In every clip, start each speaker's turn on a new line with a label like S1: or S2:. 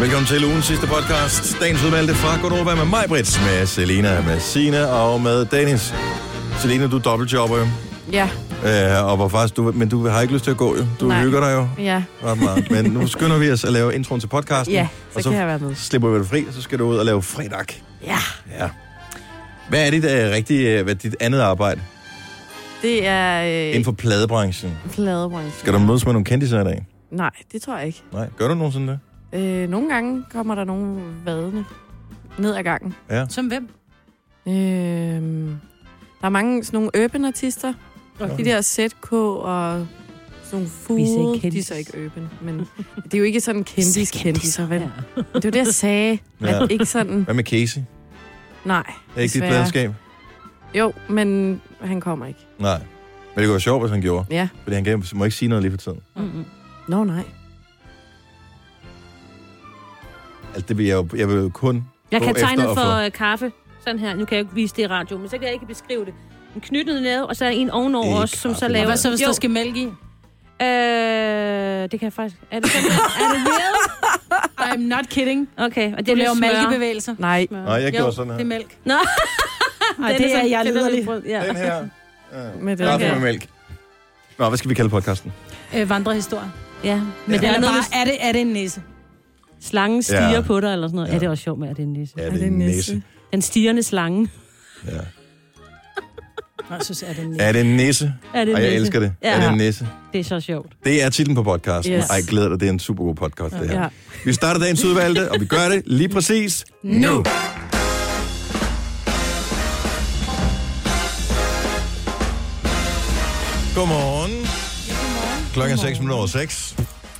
S1: Velkommen til ugens sidste podcast. Dagens udvalgte fra Godova med mig, Brits, med Selina, med Sina og med Dennis. Selina, du er dobbeltjobber jo.
S2: Ja,
S1: Øh, og hvor faktisk, du, men du har ikke lyst til at gå jo. Du
S2: Nej.
S1: hygger dig jo.
S2: ja.
S1: ret meget. Men nu skynder vi os at lave introen til podcasten.
S2: Ja, så
S1: og så
S2: kan jeg være med.
S1: slipper vi det fri, og så skal du ud og lave fredag.
S2: Ja,
S1: Ja. Hvad er dit, uh, rigtige, uh, hvad er dit andet arbejde
S2: det er
S1: inden
S2: øh,
S1: for pladebranchen?
S2: pladebranchen.
S1: Skal du mødes med nogle kendtiser i dag?
S2: Nej, det tror jeg ikke.
S1: Nej, gør du nogensinde det?
S2: Øh, nogle gange kommer der nogle vadende ned ad gangen.
S3: Som hvem?
S2: Øh, der er mange sådan nogle urban artister. De der ZK og sådan nogle fugle, de er
S3: kendis.
S2: så ikke urban. Men det er jo ikke sådan kendis kendiser, vel?
S3: Ja.
S2: Det var det, jeg sagde.
S1: Ja.
S2: Ja. At ikke sådan,
S1: Hvad med Casey?
S2: nej.
S1: Er ikke dit
S2: desværre.
S1: pladeskab?
S2: Jo, men han kommer ikke.
S1: Nej. Men det kunne være sjovt, hvis han gjorde.
S2: Ja.
S1: Fordi han kan, må ikke sige noget lige for tiden.
S3: Mm-mm.
S2: Nå, nej.
S1: Altså, det vil jeg, jo, jeg vil jo kun...
S3: Jeg
S1: gå
S3: kan
S1: efter
S3: tegne
S1: at
S3: for
S1: få-
S3: øh, kaffe. Sådan her. Nu kan jeg ikke vise det i radio, men så kan jeg ikke beskrive det. En knyttet nave, og så er en ovenover
S1: Ikke
S3: også, som så
S1: kaffe,
S3: laver...
S1: nej.
S4: Hvad så, hvis
S3: Jo,
S4: der skal mælk i?
S3: Øh, det kan jeg faktisk... Er det sådan? er det ved?
S4: I'm not kidding.
S3: Okay, og det
S4: Du
S3: er lidt
S4: laver
S3: smør.
S4: mælkebevægelser.
S2: Nej,
S3: Smør.
S1: Nej, jeg
S4: Jo,
S1: gjorde sådan her.
S4: det er mælk.
S3: Nå.
S4: Ej, det,
S3: Den
S4: er,
S3: sådan-
S4: jeg
S3: den lidt
S4: liderlig.
S3: rød, Ja.
S1: Den her.
S2: med det.
S1: Ja. Okay.
S3: Okay.
S1: med mælk. Nå, hvad skal vi kalde podcasten?
S4: Øh, vandrehistorie.
S3: ja. Men
S4: Men
S3: det er noget,
S4: bare,
S3: hvis
S4: er det, er det en næse?
S3: slangen stiger
S1: Ja.
S3: på dig eller sådan noget.
S1: Ja.
S3: Ja, det er også sjovt med, at det er en nisse.
S1: Ja,
S2: Er
S1: det er
S2: det
S1: en
S2: næse?
S1: næse.
S3: Den stigende slange.
S1: Ja.
S4: Nå, jeg synes, er det en næse?
S1: Er det en næse?
S3: Er det en
S1: Og jeg
S3: nisse?
S1: elsker det.
S3: Ja.
S1: Er det en næse?
S3: Det er så sjovt.
S1: Det er titlen på podcasten. Yes.
S2: Yes.
S1: Ej, glæder dig, det er en super god podcast, det her.
S2: Ja.
S1: Vi starter dagens udvalgte, og vi gør det lige præcis nu. Godmorgen. Klokken er 6 minutter over 6.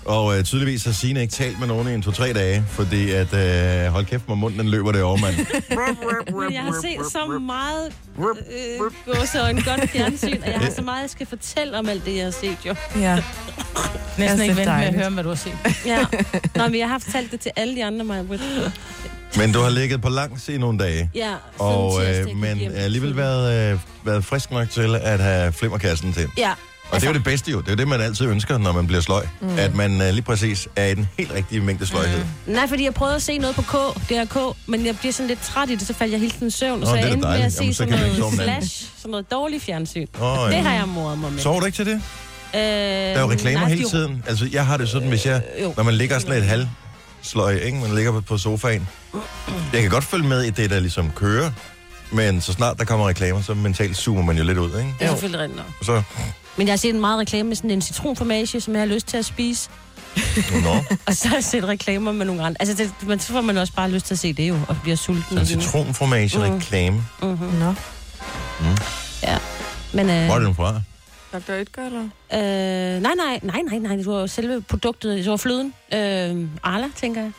S1: Og øh, tydeligvis har Signe ikke talt med nogen i en to-tre dage, fordi at, øh, hold kæft, hvor munden den løber derovre, mand.
S3: Men jeg har set så meget øh, gåsøjne godt fjernsyn, og jeg har så meget, jeg skal fortælle om alt det, jeg har set jo.
S2: Ja.
S4: Næsten
S2: Altså, det er
S4: ikke vente med at
S2: dejligt.
S4: høre, om, hvad du har set.
S3: Ja. Nå, men jeg har haft talt det til alle de andre, mig.
S1: Men du har ligget på langs i nogle dage.
S3: Ja,
S1: Og,
S3: siden tirsdag, jeg
S1: øh,
S3: gik
S1: men
S3: hjem.
S1: alligevel været, øh, været frisk nok til at have flimmerkassen til.
S3: Ja,
S1: Og det
S3: altså,
S1: er jo det bedste jo. Det er jo det, man altid ønsker, når man bliver sløj. Mm. At man uh, lige præcis er i den helt rigtige mængde sløjhed. Mm.
S3: nej, fordi jeg prøvede at se noget på K, det her K, men jeg bliver sådan lidt træt i det, så faldt jeg hele tiden i søvn, og
S1: Nå,
S3: så
S1: det er
S3: jeg
S1: da
S3: endte med
S1: dejligt.
S3: at se
S1: Jamen, så
S3: sådan
S1: kan man ikke
S3: noget
S1: sove om natten.
S3: flash, sådan noget dårlig fjernsyn.
S1: Oh,
S3: Det har jeg moret mig med.
S1: Sover du ikke til det?
S3: Mm. Øh,
S1: Der er jo reklamer
S3: nej,
S1: hele
S3: de-
S1: tiden. Altså, jeg har det sådan, hvis jeg...
S3: jo.
S1: Når man ligger sådan lidt halv sløj, ikke? Man ligger på- på sofaen. Jeg kan godt følge med i det, der ligesom kører. Men så snart der kommer reklamer, så mentalt zoomer man jo lidt ud, ikke?
S3: Det er selvfølgelig rigtigt nok.
S1: Så,
S3: Men jeg har set en meget reklame med sådan en citronformage, som jeg har lyst til at spise.
S1: nå,
S3: Og så har jeg set reklamer med nogle andre. Altså, det, men så får man også bare lyst til at se det jo, og bliver sulten. Mm.
S1: sådan en
S3: alligevel.
S1: citronformage-reklame.
S2: Nå.
S3: Men, øh,
S1: Mm. Hvor er den fra?
S2: Dr. Ytger, eller?
S3: øh, nej, nej, nej, nej, nej, det var jo selve produktet, det var fløden. Øh, Arla, tænker jeg.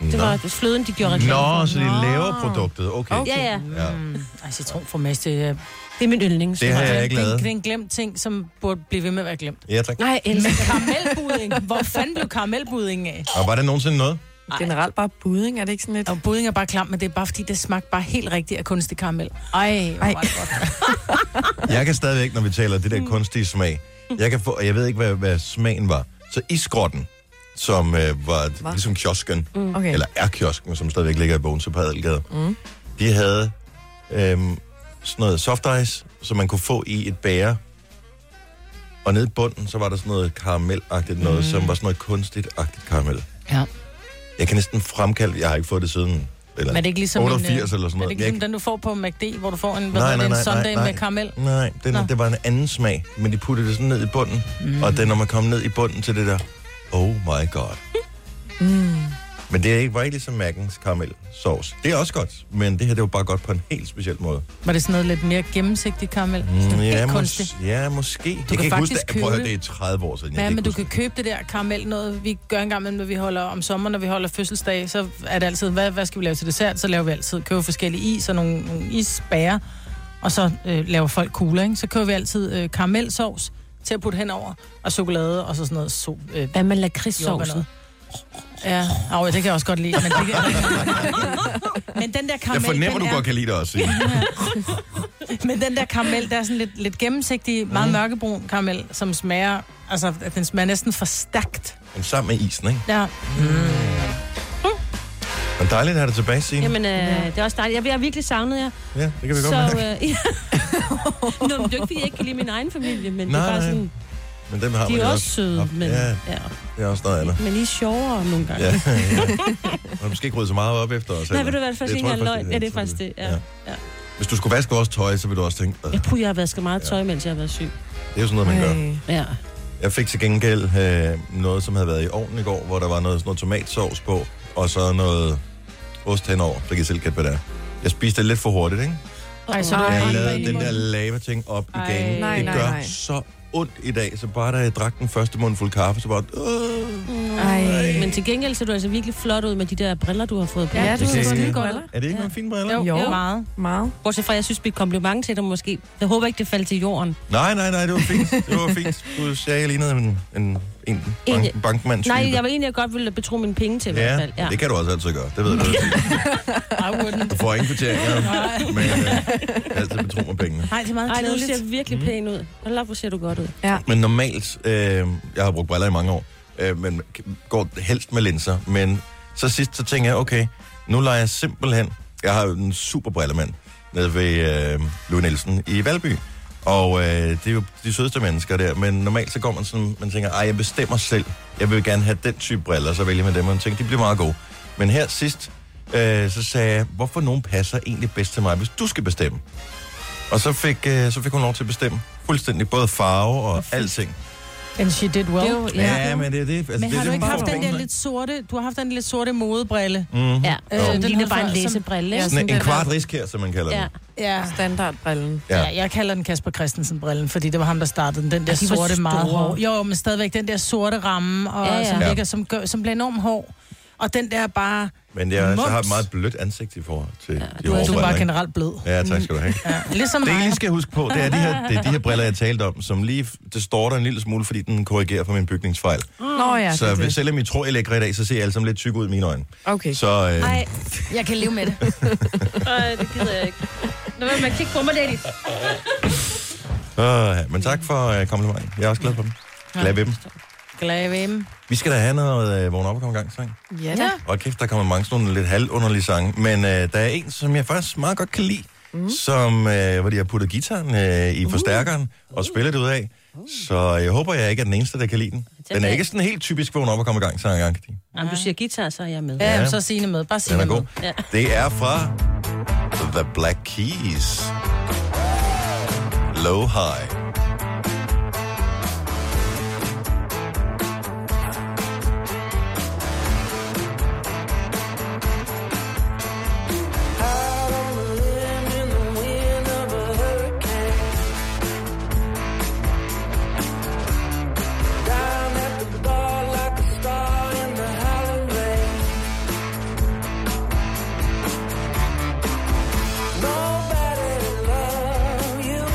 S3: Det
S1: Nå.
S3: var fløden, de gjorde reklame
S1: Nå,
S3: for.
S1: så de laver produktet. Okay.
S3: Ja, ja.
S1: Ja.
S4: Mm. Ej, citronformage, det er...
S3: Det er min yndlings.
S1: Det har jeg
S4: det-
S1: ikke
S4: det-
S1: lavet.
S4: Det er en glemt ting, som burde blive ved med at være glemt.
S1: Ja, tak.
S3: Nej, jeg elsker.
S4: Karamelbudding. Hvor fanden blev karamelbudding af?
S1: Og var det nogensinde noget?
S2: Generelt bare budding, er det ikke sådan lidt?
S4: Og budding er bare klam, men det er bare fordi, det smagte bare helt rigtigt af kunstig karamel. Ej, hvor var det godt.
S1: Jeg kan stadigvæk, når vi taler det
S4: Mm.
S1: der kunstige smag, jeg, kan få, og jeg ved ikke, hvad, hvad smagen var. Så isgrotten, som øh, var Hva? ligesom kiosken, mm.
S2: Okay.
S1: eller er kiosken, som stadigvæk ligger i Bogense på Adelgade, mm. de havde øhm, sådan noget soft ice, som man kunne få i et bære. Og nede i bunden, så var der sådan noget karamelagtigt noget, som var sådan noget kunstigt-agtigt karamel.
S4: Mm. Ja.
S1: Jeg kan næsten fremkalde, jeg har ikke fået det siden, eller
S4: Men er det ikke ligesom
S1: 88
S4: en, øh,
S1: eller sådan noget.
S4: Er det
S1: Jeg
S4: ikke ligesom
S1: kan-
S4: den, du får på McD, hvor du får en, hvad hedder det, en sundae med karamel?
S1: Nej, den,
S4: Nå.
S1: det var en anden smag, men de puttede det sådan ned i bunden. Mm. Og den, når man kom ned i bunden til det der, oh my god. Mm. Men det er ikke, var ikke ligesom Mackens karamelsauce. Det er også godt, men det her det var bare godt på en helt speciel måde.
S3: Mm,
S4: Var det sådan noget lidt mere gennemsigtig karamel? Mm,
S1: Mm, ja,
S4: helt kunstig.
S1: mås- ja, måske. Du jeg
S4: kan
S1: ikke huske
S4: faktisk
S1: det. Prøv at høre,
S4: købe-
S1: det er 30 år siden. jeg
S4: Ja,
S1: kan
S4: men du
S1: ikke
S4: kan købe det der karamel noget, vi gør engang, men når vi holder om sommeren, når vi holder fødselsdag, så er det altid, hvad, hvad skal vi lave til dessert? Så laver vi altid, køber forskellige is og nogle, nogle isbærer, og så øh, laver folk kugler, ikke? Så køber vi altid øh, karamelsovs til at putte henover, og chokolade, og så sådan noget so, øh,
S3: Hvad med
S4: jordbær
S3: lakridssovsen?
S4: Ja, oh, det kan jeg også godt lide, men, det kan, men den der
S1: Jeg
S4: karamel,
S1: fornemmer,
S4: den
S1: du
S4: er,
S1: godt kan lide det også, Signe.
S4: Men den der karamel, der er sådan lidt, lidt gennemsigtig, meget mørkebrun karamel, som smager, altså, at den smager næsten for stærkt.
S1: Men sammen med isen, ikke?
S4: Ja.
S1: Men dejligt at have dig tilbage, Signe.
S3: Jamen, øh, det er også dejligt. Jeg, jeg har virkelig savnet jer.
S1: ja, det kan vi godt
S3: så,
S1: mærke.
S3: øh, ja. Nå, men det er jo ikke, fordi jeg ikke kan lide min egen familie, men det
S1: Nej,
S3: er bare
S1: nej.
S3: sådan,
S1: Men dem har
S3: de
S1: man
S3: er
S1: jo
S3: også søde,
S1: haft.
S3: men,
S1: Ja,
S3: ja.
S1: det er også noget andet.
S3: men I er sjovere nogle gange.
S1: Ja, ja. Man har måske ikke ryddet så meget op efter os.
S3: Nej,
S1: heller.
S3: ved du hvad, det er faktisk
S1: Det
S3: ikke
S1: tror jeg
S3: engang
S1: faktisk,
S3: løgn.
S1: det er.
S3: Ja, det er faktisk det. Ja.
S1: Ja.
S3: Ja.
S1: Hvis du skulle vaske vores tøj, så ville du også tænke, øh,
S3: Jeg
S1: det
S3: puh, jeg har vasket meget tøj, mens jeg har været syg.
S1: er jo sådan noget, man gør.
S2: Ej.
S3: Ja.
S1: Jeg fik til gengæld øh, noget, som havde været i ovnen i går, hvor der var noget, sådan noget tomatsovs på, og så noget ost henover, så kan I selv gætte, hvad det er. Jeg spiste det lidt for hurtigt, ikke?
S4: Ej, så
S2: Ej.
S4: er
S1: Jeg
S4: det
S1: lavede
S4: i
S1: den der
S4: munden.
S1: lava-ting op i
S4: Ej.
S1: gangen.
S2: Nej,
S1: Det
S2: nej,
S1: gør
S2: nej.
S1: så ondt i dag, så bare da jeg drak den første mundfuld kaffe, så bare... Øh.
S2: Ej.
S3: Men til gengæld ser du altså virkelig flot ud med de der briller, du har fået på.
S2: Ja, du
S1: det
S2: har
S1: kan-
S2: fået nye
S1: det-
S2: briller.
S1: Er det ikke ja. nogle fine briller?
S4: Jo,
S2: Jo.
S4: jo, meget.
S2: Meget.
S3: Bortset fra, jeg synes, mit kompliment til dig måske. Jeg håber ikke, det faldt til jorden.
S1: Nej, nej, nej, det var fint. Det var fint. Du sagde, jeg lignede en, en, en bank,
S3: En-
S1: bankmand-type.
S3: Nej, jeg var egentlig, jeg godt ville betro mine penge til i hvert
S1: Ja,
S3: fald.
S1: ja, det kan du også altid gøre. Det ved du.
S4: I wouldn't.
S1: Du får ingen kvittering, men øh, altid betro mig pengene.
S4: Nej, det er meget
S3: Ej, nu
S4: kedeligt.
S3: ser jeg
S1: Mm.
S3: virkelig pæn ud. Hold op, hvor ser du godt ud.
S1: Men normalt, øh, jeg har brugt briller i mange år, øh, men k- går helst med linser. Men så sidst, så tænker jeg, okay, nu leger jeg simpelthen... Jeg har jo en super brillemand nede ved øh, Louis Nielsen i Valby. Og øh, det er jo de sødeste mennesker der, men normalt så går man sådan, man tænker, ej, jeg bestemmer selv. Jeg vil gerne have den type briller, så vælger man dem, og man tænker, de bliver meget gode. Men her sidst, øh, så sagde jeg, hvorfor nogen passer egentlig bedst til mig, hvis du skal bestemme? Og så fik, øh, så fik hun lov til at bestemme fuldstændig, både farve og alting.
S4: And she did well.
S3: Det er jo-
S1: Ja, ja men det er det. Altså,
S4: Men
S1: det er
S4: har du
S1: det,
S4: ikke
S1: man
S4: haft
S1: får
S4: den
S1: penge
S4: der
S1: for.
S4: lidt sorte, du har haft den lidt sorte modebrille?
S1: Mhm.
S3: Ja,
S4: Øh,
S3: øh,
S4: den
S3: det ligner
S4: havde
S3: bare en
S4: før- som-
S3: læsebrille. ikke?
S2: Ja,
S1: Sådan en, en
S2: den
S1: kvart
S2: der-
S1: risk her, som man kalder
S3: Ja.
S1: ja.
S4: Ja.
S2: Standardbrillen.
S1: Ja.
S4: Ja. ja, jeg kalder den Kasper Christensen-brillen, fordi det var ham, der startede den. Den der
S3: de var
S4: sorte, meget
S3: store.
S4: hård. Jo, men stadigvæk den der sorte ramme, og,
S3: Ja,
S4: ja,
S3: ja.
S4: ja. Som,
S1: Ja.
S4: ligger, som, gør, som bliver enormt hård. Og den der er bare...
S1: Men jeg så
S4: Mums.
S1: har et meget blødt ansigt i forhold til ja, de
S4: Du er, du er
S1: overbriller,
S4: bare
S1: ikke?
S4: generelt blød.
S1: Ja, tak skal du have.
S4: Ja. Ligesom
S1: Det, jeg
S4: mig.
S1: lige skal huske på, det er de her, det er de her briller, jeg talte om, som lige det står der en lille smule, fordi den korrigerer for min bygningsfejl.
S2: Nå ja, det
S1: så
S2: er
S1: hvis,
S2: det.
S1: selvom I tror, jeg lægger i dag, så ser jeg alle sammen lidt tyk ud i mine øjne.
S2: Okay.
S1: Så øh,
S3: Ej,
S4: Jeg kan leve med det.
S3: øh, det gider jeg ikke. Nå, men man kigge på mig, Daddy.
S1: øh, men tak for øh, komplimenten. Jeg er også glad for dem. Glad ved dem.
S4: Glad ved dem.
S1: Vi skal da have noget øh, vågn op og komme i gang sang.
S2: Ja, da.
S4: Ja.
S1: Og kæft, der kommer mange sådan nogle lidt halvunderlige sange. Men øh, der er en, som jeg faktisk meget godt kan lide, mm. som, øh, hvor de har puttet gitaren øh, i forstærkeren og spillet det ud af. Så jeg håber, jeg ikke er den eneste, der kan lide den. Den er
S3: jeg.
S1: ikke sådan helt typisk vågen op og komme i gang, sang gang.
S3: Jamen, du siger guitar, så er jeg med.
S4: Ja, så Signe med. Bare
S1: Den
S4: Signe
S1: er god.
S4: med.
S3: Ja.
S1: Det er fra The Black Keys. Low High.
S5: Nobody love you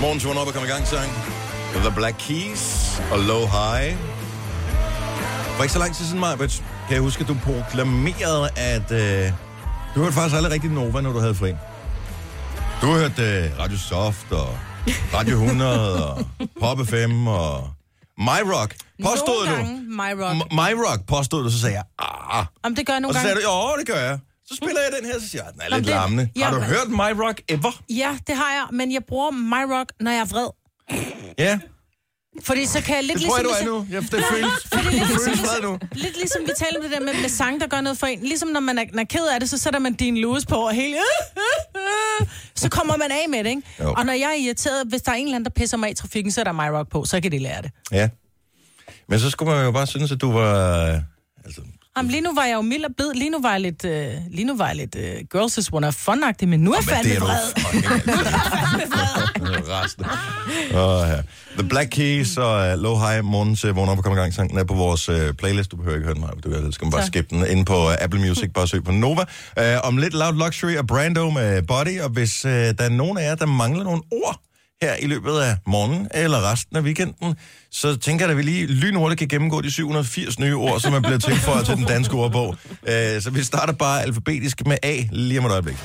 S1: Morgens vågn op og kom i gang sang. The Black Keys og Low High. For ikke så lang tid siden, Marbet, kan jeg huske, at du proklamerede, at øh, du hørte faktisk aldrig rigtig Nova, når du havde fri. Du hørte øh, Radio Soft og Radio 100 og Pop FM og My Rock. Påstod
S4: Nogle
S1: du?
S4: gange My Rock.
S1: M- My Rock påstod du, så sagde jeg, ah.
S4: Jamen, det gør jeg
S1: Og
S4: nogle
S1: så
S4: gange.
S1: sagde du, jo, det gør jeg. Så spiller jeg den her, så siger jeg, den er lidt
S4: det-
S1: larmende. Har
S4: ja,
S1: du
S4: men-
S1: hørt My Rock ever?
S4: Ja, det har jeg, men jeg bruger My Rock, når jeg er vred.
S1: Ja,
S4: Fordi så kan jeg lidt
S1: det tror jeg, du
S4: ligesom...
S1: er nu. Ja, det føles, det føles meget nu.
S4: Lidt ligesom vi talte om det der med, med sang, der gør noget for en. Ligesom når man er, når er ked af det, så sætter man din Lewis på, og hele... så kommer man af med det, ikke?
S1: Jo.
S4: Og når jeg er irriteret, hvis der er en eller anden, der pisser mig af i trafikken, så er der My Rock på, så kan de lære det.
S1: Ja. Men så skulle man jo bare synes, at du var... øh, Altså,
S4: Jamen, lige nu var jeg jo mild og blid. Lige nu var jeg lidt, øh, lige nu var jeg lidt øh, Girls is One of fun men nu er jeg
S1: men det
S4: fandme
S1: er du
S4: vred.
S1: fucking altid. Resten. Åh, ja. The Black Keys og uh, Low High Morgens uh, vågn op og kom i gang. Sangen er på vores uh, playlist. Du behøver ikke høre den, Maja. Du kan- skal man bare skippe den inde på uh, Apple Music. Bare søg på Nova. Uh, om lidt Loud Luxury og Brando med Body. Og hvis uh, der er nogen af jer, der mangler nogle ord her i løbet af morgenen eller resten af weekenden, så tænker jeg, at vi lige lynhurtigt kan gennemgå de 780 nye ord, som er blevet tilføjet til den danske ordbog. Øh, Så vi starter bare alfabetisk med A lige om et øjeblik.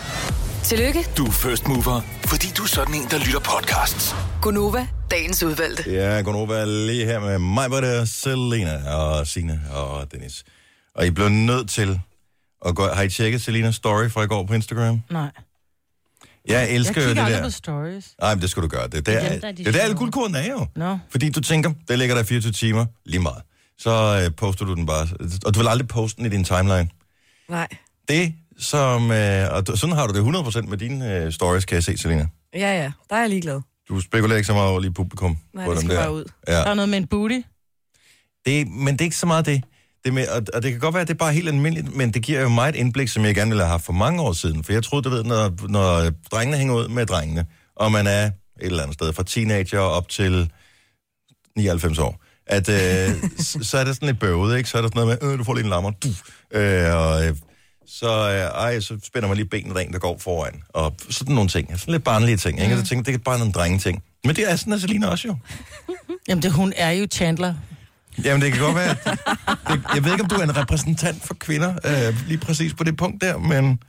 S5: Tillykke,
S6: Du er first mover, fordi du er sådan en, der lytter podcasts.
S5: Gunova, dagens udvalgte.
S1: Ja, Gunova er lige her med mig, hvor det er Selena og Sine og Dennis. Og I blev nødt til at gå... Har I tjekket Selinas story fra i går på Instagram?
S4: Nej.
S1: Jeg
S4: Jeg
S1: elsker jo det
S4: kigger aldrig
S1: der.
S4: på stories.
S1: Nej, men det skal du gøre. Det er der,
S3: Det
S1: det
S3: er dem, der
S1: er
S3: er de
S1: der alle
S3: sjove.
S1: guldkornene er jo.
S4: Nå.
S1: Fordi du tænker, det ligger der i 24 timer, lige meget. Så øh, poster du den bare. Og du vil aldrig poste den i din timeline.
S2: Nej.
S1: Det som... Øh, og du- sådan har du det 100% med dine øh, stories, kan jeg se, Selina.
S2: Ja, ja. Der er jeg ligeglad.
S1: Du spekulerer ikke så meget over lige publikum.
S2: Nej,
S1: på
S2: det
S1: dem
S2: skal
S1: der.
S2: bare ud.
S1: Ja.
S4: Der er noget med en booty.
S1: Det, men det er ikke så meget det. det med, og, og det kan godt være, at det er bare helt almindeligt, men det giver jo mig et indblik, som jeg gerne ville have haft for mange år siden. For jeg troede, du ved, når, når drengene hænger ud med drengene, og man er et eller andet sted fra teenager op til 99 år, at øh, s- så er det sådan lidt bøvet, ikke? Så er der sådan noget med, øh, du får lige en lammer, du. Øh, og, øh, så, øh, ej, så spænder man lige benet rent, der går foran. Og sådan nogle ting. Sådan lidt barnlige ting, ikke? Mm. Så tænker jeg, det er bare nogle drengeting. Men det er sådan, at Selina også jo.
S4: Jamen, det, hun er jo Chandler.
S1: Jamen, det kan godt være. at- Det, jeg ved ikke, om du er en repræsentant for kvinder, øh, lige præcis på det punkt der, men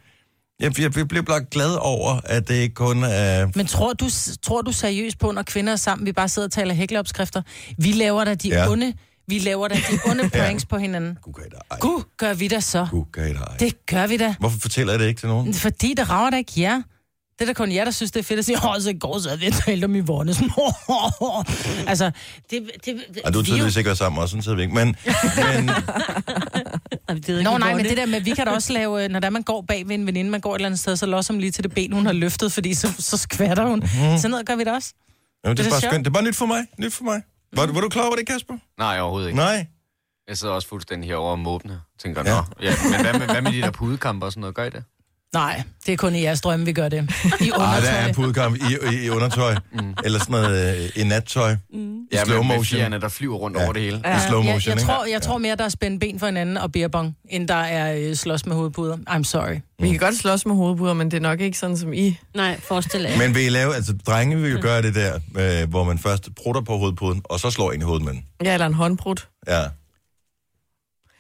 S1: jeg, jeg, jeg bliver bare glad over, at det ikke kun er... Øh,
S4: Men tror du, tror du seriøst på, når kvinder er sammen, vi bare sidder og taler hækleopskrifter? Vi laver da de
S1: Ja.
S4: ja. onde, vi laver da de onde pranks på hinanden.
S1: Gud,
S4: Gud, gør vi da så.
S1: okay, nej.
S4: Det gør vi da.
S1: Hvorfor fortæller jeg det ikke til nogen?
S4: Fordi det rager da ikke jer. Det er da kun jer, der synes, det er fedt at sige, åh, så i går sad vi og talte om Yvonne. Sådan, altså, det, det, det
S1: Ej, du har
S4: vi er jo-
S1: tydeligvis ikke været sammen også, sådan sidder vi ikke. Men, men
S4: Nå nej, men det der med, vi kan da også lave, øh, når der man går bag ved en veninde, man går et eller andet sted, så låser man lige til det ben, hun har løftet, fordi så, så skvatter hun. Mm-hmm. Sådan noget gør vi da også.
S1: Mhm. jamen, det
S4: Det
S1: er
S4: er Mm.
S1: bare
S4: sjovt.
S1: skønt. Det er bare nyt for mig. Nyt for mig. Var, du- var du klar over det, Kasper?
S7: Nej, overhovedet ikke.
S1: Nej.
S7: Jeg sidder også fuldstændig herovre og måbne. Tænker,
S1: Ja.
S7: ja. nå, ja, men hvad med, hvad med de der pudekamper og sådan noget? Gør I det?
S4: Nej, det er kun i jeres drømme, vi gør det. I
S1: Nej, der
S4: undertøj.
S1: er pudkamp i, i, i undertøj. Mm. Eller sådan noget øh, i nattøj. Mm. I slow
S7: med, med
S1: motion.
S7: fjerne, der flyver rundt
S1: Ja.
S7: ja. over det hele.
S1: I slow
S4: jeg,
S1: motion,
S4: jeg,
S1: ikke?
S4: tror, jeg tror mere, der er spændt ben for hinanden og beerbong, end der er øh, slås med hovedpuder. I'm sorry.
S2: Vi kan godt slås med hovedpuder, men det er nok ikke sådan, som I...
S3: Nej, forestil jer.
S1: Men vil I lave, altså drenge vil jo
S4: Mm.
S1: gøre det der, øh, hvor man først prutter på hovedpuden, og så slår en i hovedet med den.
S2: Ja, eller en håndbrud.
S1: Ja.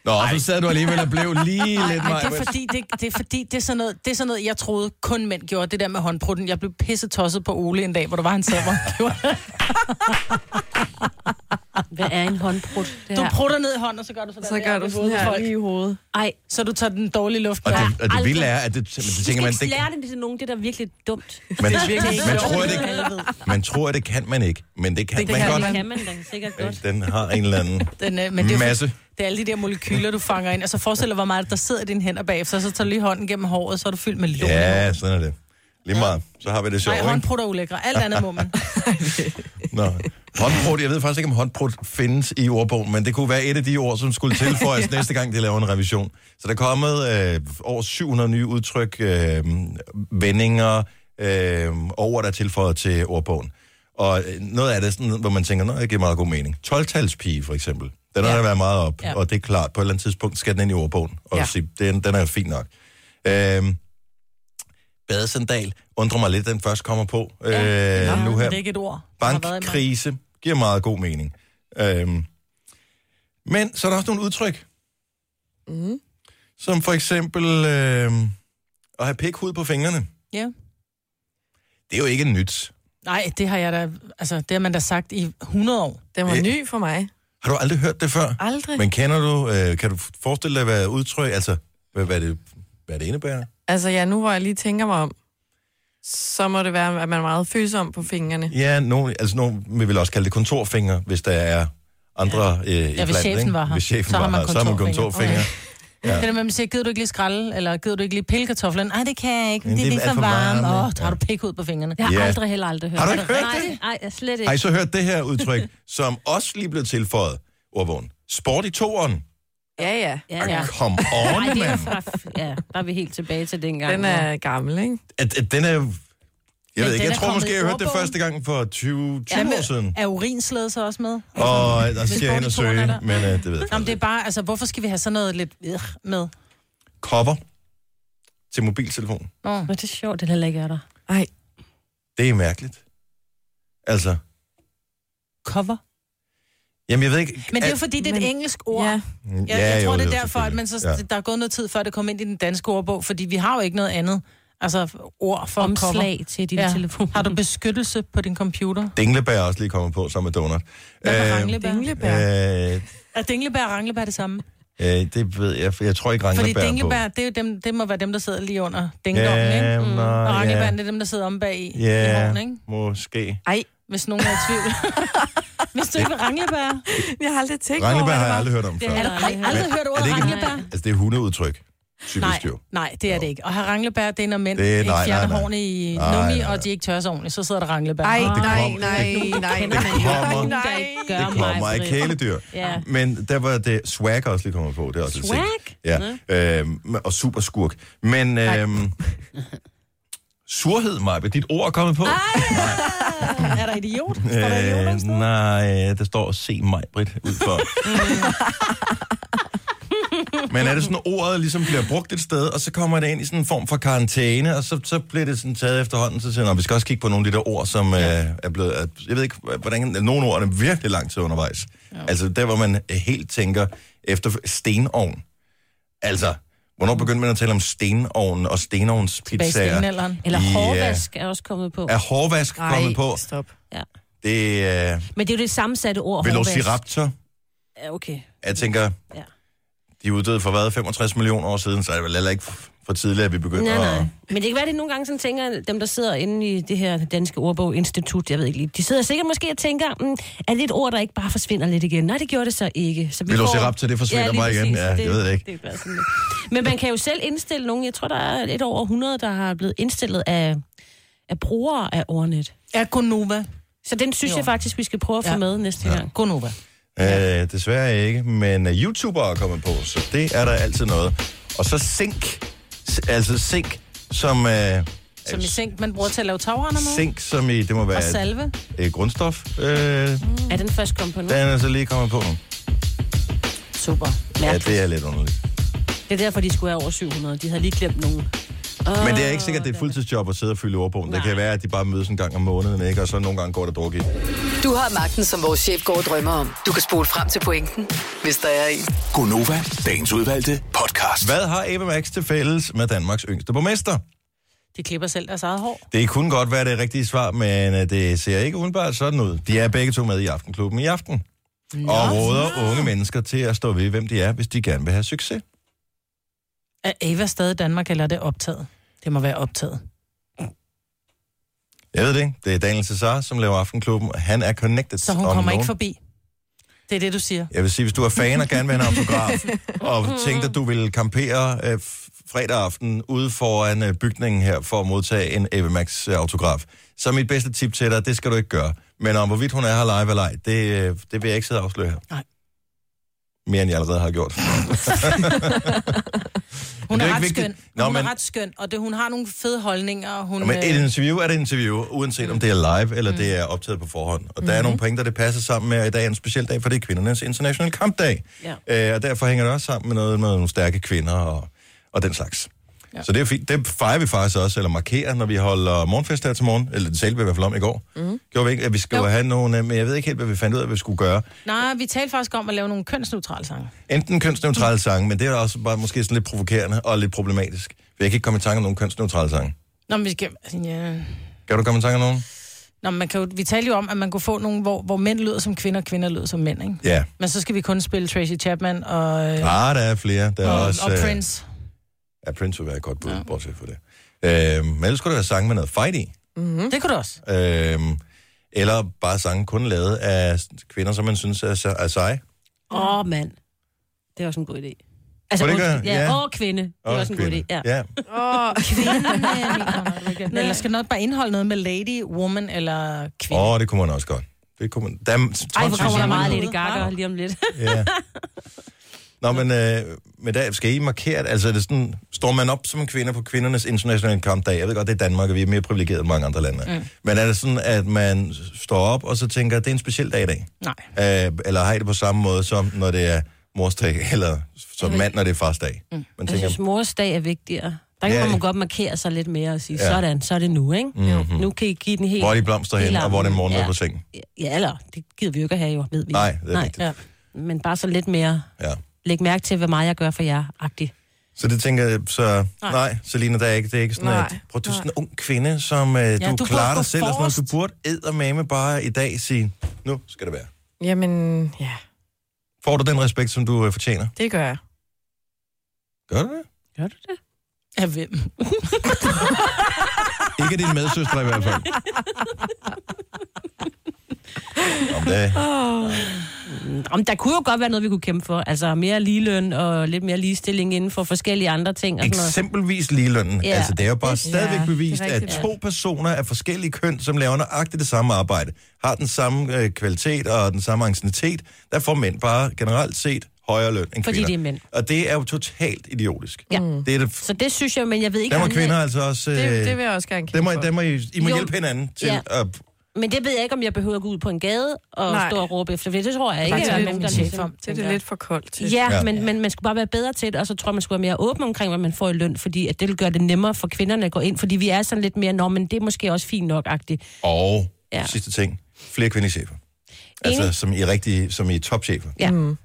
S1: Nå, Ej. så sad du alligevel og blev lige lidt
S4: Ej, det er
S1: Maja.
S4: fordi, det, det, er fordi det, er sådan noget, det er sådan noget, jeg troede kun mænd gjorde, det der med håndbrutten. Jeg blev pisset tosset på Ole en dag, hvor der var, han sad, hvor han gjorde.
S3: Hvad er en håndbrud? Det
S4: Du
S3: her?
S4: prutter ned i hånden, og så gør du sådan
S2: Så
S4: der,
S2: gør
S4: i
S2: du sådan
S4: hovedet på
S2: her
S4: folk.
S2: lige i hovedet.
S3: Ej,
S4: Så du tager den dårlige luft.
S1: Og
S4: der.
S1: det, og det
S3: Aldrig.
S1: vilde er, at det, det
S3: du
S1: tænker
S3: skal
S1: man,
S3: ikke
S1: det,
S3: lære det til nogen, det er da virkelig dumt.
S1: man,
S4: Det er ikke
S1: man,
S4: sjovt.
S1: tror, det, man tror, at det kan man ikke, men det kan
S2: Det
S1: man
S2: kan
S1: godt. Øh,
S3: Det kan man da sikkert godt.
S1: Den har en eller anden...
S4: Den, øh, men det er, jo-
S1: Masse.
S4: det er alle de der molekyler, du fanger ind. Og så forestil dig, hvor meget der sidder i dine hænder bagefter. Så tager du lige hånden gennem håret, så er du fyldt med lort.
S1: Ja, sådan er det. Lige meget, så har vi det sjovt,
S4: Nej,
S1: ikke?
S4: håndprutter er ulækre. Alt andet må man.
S1: Nå. Håndprut, jeg ved faktisk ikke, om håndprut findes i ordbogen, men det kunne være et af de ord, som skulle tilføjes ja. næste gang, de laver en revision. Så der er kommet øh, over 700 nye udtryk, øh, vendinger, øh, over der er tilføjet til ordbogen. Og øh, noget af det, er sådan, hvor man tænker, nej, det giver meget god mening. 12-talspige, for eksempel. Den har
S4: Ja.
S1: der været meget op, ja.
S4: Ja.
S1: og det er klart, på et eller andet tidspunkt skal den ind i ordbogen. Og ja.
S2: Ja.
S1: sige, den, den er fin nok. Øh, badesandal Øhm, undrer mig lidt, at den først kommer på øh, ja, nu
S4: men
S1: her.
S4: Det er ikke et ord. der har været i mig.
S1: Bankkrise giver meget god mening. Øhm, men så er der også nogle udtryk.
S4: Mm-hmm.
S2: Mm.
S1: Som for eksempel øh, at have pikhud på fingrene.
S4: Ja.
S1: Det er jo ikke nyt.
S4: Nej, det har jeg da, altså, det har man da sagt i 100 år.
S2: Den var
S1: Øh.
S2: ny for mig.
S1: Har du aldrig hørt det før?
S2: Aldrig.
S1: Men kender du, øh, kan du forestille dig, hvad udtryk, altså hvad, hvad, det, hvad det indebærer?
S2: Altså ja, nu hvor jeg lige tænker mig om, så må det være, at man er meget følsom på fingrene.
S1: Ja, nogen, altså nogen vil vel også kalde det kontorfinger, hvis der er andre øh, i
S4: hvis
S1: blandt,
S4: chefen
S1: ikke?
S4: var her,
S1: Hvis chefen
S4: så har
S1: var
S4: man
S1: her, så har man
S4: kontorfinger.
S1: kontorfinger.
S4: Okay. Ja. Det der med, at man siger, gider du ikke lige skralde, eller gider du ikke lige pille kartoflen? Nej, det kan jeg ikke,
S1: Men
S4: men det er
S1: det er
S4: lige
S1: alt
S4: for
S1: for
S4: varmt.
S1: varmt,
S4: Åh,
S1: ikke?
S4: oh, har du pikhud på fingrene?
S3: Jeg har
S1: Ja.
S3: yeah. aldrig heller aldrig hørt
S1: Har du ikke hørt
S3: nej,
S1: det?
S3: Nej, jeg slet ikke.
S1: Har I så hørt det her udtryk, som også lige blev tilføjet ordbogen? Sport i toeren.
S2: Ja, ja.
S3: ja, ja.
S1: Ja. Come on,
S3: Nej, det er
S1: mand.
S3: fra... Ja, der er vi helt tilbage til dengang.
S2: Den er gammel, ikke?
S1: At, at den er... Jeg ved
S4: den
S1: ikke,
S4: er
S1: jeg tror
S4: kommet
S1: måske,
S4: i
S1: jeg hørte det
S4: ordbogen.
S1: første gang for 20, 20 år siden.
S4: Er urinslæde så også med?
S1: Og øh, der siger jeg
S4: sport
S1: hen
S4: i
S1: og
S4: toeren er
S1: søge,
S4: der.
S1: men øh, det ved jeg
S4: Nå, men
S1: ikke.
S4: det er bare, altså, hvorfor skal vi have sådan noget lidt øh, med?
S1: Kopper til mobiltelefon.
S4: Nå.
S3: Men det er sjovt, den heller ikke er der.
S2: Ej,
S1: Det er mærkeligt. Altså,
S4: Cover.
S1: jamen jeg ved ikke...
S4: Men det er jo fordi, det er et
S2: Men-
S4: engelsk ord.
S2: ja.
S4: Ja. Jeg, ja, jeg tror,
S1: jo,
S4: det er
S1: jo
S4: derfor, at man så,
S1: selvfølgelig.
S4: der er gået noget tid, før det kom ind i den danske ordbog, fordi vi har jo ikke noget andet altså, ord for cover.
S3: Omslag til din ja. telefon.
S4: Har du beskyttelse på din computer?
S1: Dinglebær er også lige kommet på sammen med donut.
S4: Hvad med
S1: Øh,
S4: ranglebær?
S2: Dinglebær.
S1: øh,
S4: Er dinglebær og ranglebær det samme?
S1: øh, det ved jeg, for jeg tror ikke,
S4: Fordi
S1: Ranglebær er på.
S4: dinglebær, det, er jo dem, det må være dem, der sidder lige under dingdommen,
S1: Ja,
S4: ikke?
S1: mm. nå,
S4: Og
S1: ja,
S4: ranglebæren, det er dem, der sidder om bag i, i
S1: ja,
S4: hånden, ikke?
S1: måske.
S2: Ej,
S4: Hvis nogen er i tvivl. Hvis du ikke vil ranglebær.
S2: jeg har aldrig tænkt over,
S1: Ranglebær har
S2: hvad det var.
S1: jeg aldrig hørt om før.
S4: Er du ej, aldrig hørt
S1: er
S4: ordet
S1: det ikke-
S4: ranglebær?
S1: Altså, det er hundeudtryk,
S4: Nej,
S1: typisk jo.
S4: nej, det er det ikke. Og har ranglebær, det er, når mænd
S1: Det er-
S4: ikke
S1: nej,
S4: fjerner
S1: nej, nej.
S4: hårene i
S1: Nej,
S4: nummi,
S1: nej, nej.
S4: og de ikke tørrer sig ordentligt, så sidder der ranglebær.
S2: Ej,
S1: det
S2: nej,
S1: kom-
S2: nej, nej,
S1: det
S2: nej,
S1: kommer-
S2: nej.
S3: Gør
S1: Det kommer af
S3: Britt.
S1: kæledyr.
S3: Ja.
S1: Men der var det swag også lige kommet på. Det er også lidt
S3: Swag?
S1: sent. Ja. Øhm, og superskurk. Men øhm, surhed, Maja, dit ord er kommet på.
S4: Er der idiot? Står der idiot nogen
S1: Øh,
S4: steder?
S1: nej, der står se mig, Britt, ud for. Men er det sådan, at ordet ligesom bliver brugt et sted, og så kommer det ind i sådan en form for karantæne, og så, så bliver det sådan taget efterhånden, så siger man, "Nå, vi skal også kigge på nogle af de der ord, som ja. øh, er blevet... At, jeg ved ikke, hvordan... Nogle ord er virkelig lang tid undervejs. Ja. Altså der, hvor man helt tænker efter stenovn. Altså, hvornår begyndte man at tale om stenovnen og
S4: Bag i
S1: stenovnspizzaer?
S4: stenalderen.
S3: Eller
S1: Ja.
S3: hårvask er også kommet på.
S1: Er hårvask kommet på?
S2: Nej, stop.
S3: Ja.
S1: Det er... Øh,
S3: Men det er jo det sammensatte ord, hårvask.
S1: Velociraptor.
S3: Ja, okay.
S1: Jeg tænker,
S3: Ja.
S1: de er uddøde for hvad, 65 millioner år siden, så er det vel heller ikke f- for tidligt, at vi begynder
S3: Nej, nej.
S1: at...
S3: Men det kan være, at det nogle gange sådan tænker, dem der sidder inde i det her Danske Ordbog Institut, jeg ved ikke lige, de sidder sikkert måske og tænker, mm, er det et ord, der ikke bare forsvinder lidt igen? Nej, det gjorde det så ikke. Så vi
S1: Velociraptor, det forsvinder
S3: lige
S1: bare igen.
S3: præcis.
S1: Ja, jeg ved det ikke.
S3: er bare sådan lidt. Men man kan jo selv indstille nogen. Jeg tror, der er lidt over 100, der har blevet indstillet af, af brugere af ordnet.
S4: Er Gonova.
S3: Så den synes
S4: Jo.
S3: jo. jeg faktisk, vi skal prøve at få
S4: Ja.
S3: ja. med næste
S4: Ja.
S3: gang.
S4: Gonova.
S1: Øh, desværre ikke, men uh, YouTuber er kommet på, så det er der altid noget. Og så sink, S- altså sink, som... Uh,
S4: Som i seng, man bruger til at lave tagrender med.
S1: Sink, som i, det må
S4: Og Mhm.
S1: være et,
S4: salve.
S1: et grundstof. Øh, den
S2: Mm.
S3: Er den først kommet på nu?
S1: er så lige kommet på nu.
S3: Super.
S1: Ja,
S3: Mærkeligt.
S1: det er lidt underligt.
S3: Det er derfor, de skulle have over 700. De havde lige glemt nogen.
S1: Men det er ikke sikkert, at det er et fuldtidsjob at sidde og fylde ordbogen. Det
S3: Nej.
S1: kan være, at de bare mødes en gang om måneden, ikke? og så nogle gange går der druk i.
S5: Du har magten, som vores chef går og drømmer om. Du kan spole frem til pointen, hvis der er en.
S6: Gonova, dagens udvalgte podcast.
S1: Hvad har Ebbe Max til fælles med Danmarks yngste borgmester?
S4: De klipper selv deres eget hår.
S1: Det kunne godt være det rigtige svar, men øh, det ser ikke udenbart sådan ud. De er begge to med i Aftenklubben i aften. Nå, og råder unge mennesker til at stå ved, hvem de er, hvis de gerne vil have succes.
S4: Er Ava stadig i Danmark, eller er det optaget? Det må være optaget.
S1: Jeg ved det ikke. Det er Daniel Cesar, som laver Aftenklubben. Han er connected.
S4: Så hun
S1: om
S4: kommer
S1: nogen.
S4: ikke forbi. Det er det, du siger.
S1: Jeg vil sige, hvis du er fan og gerne vil have en autograf, og tænkte, at du ville campere øh, f- fredag aften ude foran øh, bygningen her for at modtage en Eva Max øh, autograf, så er mit bedste tip til dig, det skal du ikke gøre. Men om hvorvidt hun er her live eller ej, det, øh, det vil jeg ikke sidde og afsløre her.
S4: Nej.
S1: Mere end jeg allerede har gjort.
S4: Hun
S1: det er ikke
S4: er, ret
S1: vigtigt.
S4: skøn.
S1: Nå,
S4: hun
S1: men-
S4: er ret skøn, og det, hun har nogle fede holdninger. Og hun,
S1: Nå, men
S4: øh,
S1: et interview er et interview, uanset om det er live eller det er optaget på forhånd. Og der er nogle pointer, det passer sammen med, at i dag er en speciel dag, for det er kvindernes international kampdag.
S3: Ja.
S1: Øh, og derfor hænger det også sammen med noget med nogle stærke kvinder og, og den slags. Ja. Så det er fint. Det fejrer vi faktisk også, eller markerer, når vi holder morgenfest her til morgen. Eller det talte vi i hvert fald om i går. Mm. Gjorde vi ikke, at vi skulle
S4: Mhm. Jo.
S1: have nogle... øh, Men jeg ved ikke helt, hvad vi fandt ud af, hvad vi skulle gøre.
S4: Nej, vi talte faktisk om at lave nogle kønsneutrale sange.
S1: Enten
S4: Mhm.
S1: kønsneutrale sange, men det er også bare måske sådan lidt provokerende og lidt problematisk. For jeg kan ikke komme i tanke om nogen kønsneutrale sange.
S4: Nå, men vi skal... altså, Ja.
S1: Kan du komme i tanke om nogen?
S4: Nå, men man kan jo, vi talte jo om, at man kunne få nogle, hvor, hvor mænd lyder som kvinder, og kvinder lyder som mænd, ikke?
S1: Ja.
S4: Men så skal vi kun spille Tracy Chapman og, øh,
S1: Ah, der er flere. Der er
S4: og,
S1: også,
S4: og
S1: øh,
S4: Prince.
S1: Ja, Prince vil være et godt bud, ja. bortset for det. Øh, men ellers skulle det være sange med noget fight i.
S3: Mhm.
S4: Mm. Det kunne du også.
S1: Øh, eller bare sange kun lavet af kvinder, som man synes er, se- er seje.
S3: Åh, oh, mand. Det er også en god idé.
S1: Må
S3: Altså,
S1: det ikke
S3: undskyld,
S1: være?
S3: ja.
S1: Ja.
S3: Åh, kvinde. Det er også en god idé. Ja.
S1: ja.
S2: Åh,
S4: Men Eller skal noget bare indeholde noget med lady, woman eller kvinde?
S1: Åh, oh, det kunne man også godt. Det kunne man... Der er
S3: Ej, hvor kommer der meget
S4: Tonsvis.
S3: lidt gakker lige om lidt.
S1: Ja. Nå, men, øh, men der skal I markere, det? altså er det sådan, står man op som en kvinde på kvindernes internationale kampdag? Jeg ved godt, det er Danmark, og vi er mere privilegerede end mange andre lande. Mm. Men er det sådan, at man står op, og så tænker, det er en speciel dag i dag?
S4: Nej.
S1: Øh, eller har I det på samme måde, som når det er morsdag, eller som mand, når det er farsdag? Mm. Man
S3: Jeg
S1: tænker,
S3: synes, mors dag er vigtigere. Der kan
S1: Ja,
S3: man
S1: ja.
S3: godt markere sig lidt mere og sige,
S1: Ja. Mhm.
S3: sådan, så er det nu, ikke? Mm-hmm. Nu kan I give den helt...
S1: hvor er de blomster hen,
S3: helt
S1: og hvor er det
S3: armen.
S1: morgen
S3: ja.
S1: på sengen?
S3: Ja, eller det gider vi jo ikke at have, jo, ved vi.
S1: Nej, det er rigtigt.
S4: Ja.
S3: Men bare så lidt mere,
S1: Ja.
S3: læg mærke til, hvad meget jeg gør for jer, agtigt.
S1: Så det tænker jeg, så nej, nej Selina, der er ikke, det er ikke sådan,
S2: Nej.
S1: at prøv, du er sådan en ung kvinde, som øh, ja, du,
S4: du
S1: du
S4: burde
S1: klarer
S4: gå
S1: dig selv og sådan
S4: forrest.
S1: noget. Du burde eddermame bare i dag sige, nu skal det være.
S2: jamen, ja,
S1: Får du den respekt, som du øh, fortjener?
S2: det gør jeg.
S1: Gør du det?
S3: Gør du det?
S4: Af hvem?
S1: Ikke din medsøster i hvert fald. Om det,
S3: Om der kunne jo godt være noget, vi kunne kæmpe for. Altså mere ligeløn og lidt mere ligestilling inden for forskellige andre ting. Og sådan noget.
S1: eksempelvis ligelønnen.
S3: Ja.
S1: Ja. Altså, det er jo bare
S2: Ja,
S1: stadigvæk
S2: det er
S1: bevist, at
S2: rigtigt.
S1: to personer af forskellige køn, som laver nøjagtigt det samme arbejde, har den samme øh, kvalitet og den samme anciennitet, der får mænd bare generelt set højere løn end
S3: Fordi
S1: kvinder.
S3: de er mænd. Mm.
S1: Og det er jo totalt idiotisk.
S3: Ja.
S1: Det er det,
S3: Så det synes jeg, men jeg ved ikke...
S1: der må
S3: om-
S1: kvinder altså også... Øh,
S2: Det, det vil jeg også gerne
S1: der
S2: kigge
S1: må,
S2: på.
S1: der må I, I må
S3: Jo.
S1: hjælpe hinanden til
S3: Ja.
S1: at...
S3: Men det ved jeg ikke, om jeg behøver at gå ud på en gade og Nej.
S2: Nej.
S3: stå og råbe efter, for det tror jeg ikke,
S4: Faktisk
S3: at der er
S4: lidt
S3: nogen, der
S4: min chef
S3: ligesom...
S4: om.
S2: Det er det lidt for koldt til.
S3: Ja, ja,
S1: Ja.
S3: men, men man skulle bare være bedre til det, og så tror jeg, man skulle være mere åben omkring, hvad man får i løn, fordi at det vil gøre det nemmere for kvinderne at gå ind, fordi vi er sådan lidt mere, nå, men det er måske også fint nok-agtigt.
S1: Og
S3: Ja.
S1: ja. sidste ting. Flere kvindelige chefer. Altså,
S3: Enig.
S1: som I, er rigtig, som I er topchefer.
S3: Ja. Mm.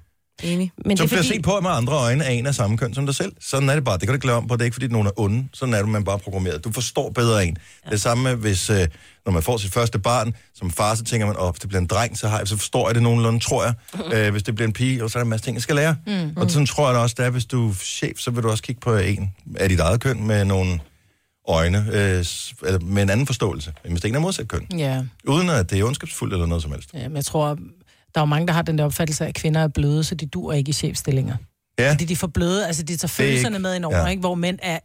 S2: Enig.
S3: Men
S1: Som
S3: det er
S1: bliver
S3: fordi,
S1: set på med andre øjne af en af samme køn som dig selv. Sådan er det bare. Det kan du ikke lave om på. Det er ikke, fordi nogen er onde. Sådan er det, man bare er programmeret. Du forstår bedre en. Ja. Det samme, med, hvis øh, når man får sit første barn, som far, så tænker man, op, oh, det bliver en dreng, så, har jeg, så forstår jeg det nogenlunde, tror jeg. Øh, hvis det bliver en pige, og så er der en masse ting, jeg skal lære. Mm. Og sådan tror jeg da også, det er, hvis du er chef, så vil du også kigge på en af dit eget køn med nogle øjne, øh, s- eller med en anden forståelse, end hvis det ikke er modsat køn.
S4: Ja.
S1: Uden at det er ondskabsfuldt eller noget som helst.
S4: ja, men jeg tror, der er jo mange, der har den der opfattelse af, at kvinder er bløde, så de dur ikke i chefstillinger.
S1: Ja,
S4: Fordi de er for bløde, altså de tager
S1: er
S4: følelserne
S1: ikke-
S4: med ind over, ja.
S1: ja.
S4: ikke? hvor mænd er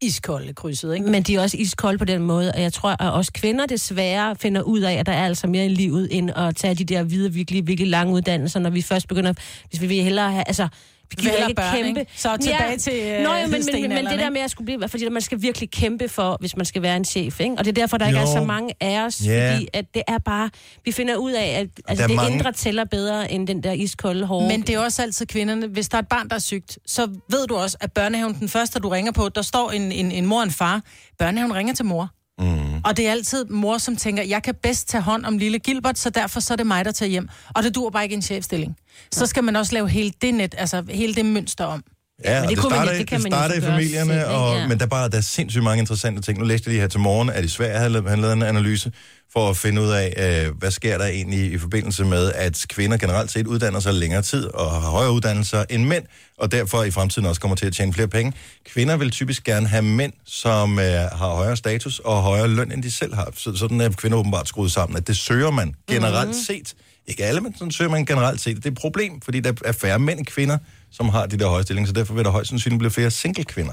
S4: iskolde krydset. Ikke?
S3: men de er også iskolde på den måde, og jeg tror, at også kvinder desværre finder ud af, at der er altså mere i livet, end at tage de der videre, virkelig, virkelig lange uddannelser, når vi først begynder, hvis vi vil hellere have, altså, vi gider
S4: Vel og
S3: ikke
S4: børn,
S3: kæmpe.
S4: ikke? Så tilbage til, øh,
S3: Nå, jo, men, men, men, men
S4: stenalderen,
S3: det der
S4: ikke?
S3: med at skulle blive, fordi man skal virkelig kæmpe for, hvis man skal være en chef, ikke? Og det er derfor, der ikke
S1: Jo.
S3: er så mange af os,
S1: Ja.
S3: fordi at det er bare, vi finder ud af, at altså,
S1: er
S3: det mange...
S1: mange-
S3: indre tæller bedre, end den der iskolde hårde.
S4: Men det er også altid kvinderne. Hvis der er et barn, der er sygt, så ved du også, at børnehaven, den første, du ringer på, der står en, en, en mor og en far. Børnehaven ringer til mor. Mm. Og det er altid mor, som tænker, jeg kan bedst tage hånd om lille Gilbert, så derfor så er det mig, der tager hjem. Og det dur bare ikke i en chefstilling. Så skal man også lave hele det net, altså hele det mønster om.
S1: Ja,
S3: men
S1: men
S3: det
S1: det, det
S3: kunne man
S1: starter,
S3: jo-
S1: man,
S3: det
S1: det
S3: kan
S1: det starter
S3: man jo
S1: i familierne,
S3: gøre selv, ikke?
S1: og,
S3: Ja.
S1: men der, er bare, der er sindssygt mange interessante ting. Nu læste jeg lige her til morgen, at i Sverige havde la- han lavet en analyse for at finde ud af, øh, hvad sker der egentlig i forbindelse med, at kvinder generelt set uddanner sig længere tid og har højere uddannelser end mænd, og derfor i fremtiden også kommer til at tjene flere penge. Kvinder vil typisk gerne have mænd, som øh, har højere status og højere løn, end de selv har. Så, sådan er kvinder åbenbart skruet sammen, at det søger man generelt
S3: Mhm.
S1: set. Ikke alle, men sådan søger man generelt set. Det er et problem, fordi der er færre mænd end kvinder, som har de der høje stillinger, så derfor vil der højst sandsynligt blive flere single kvinder.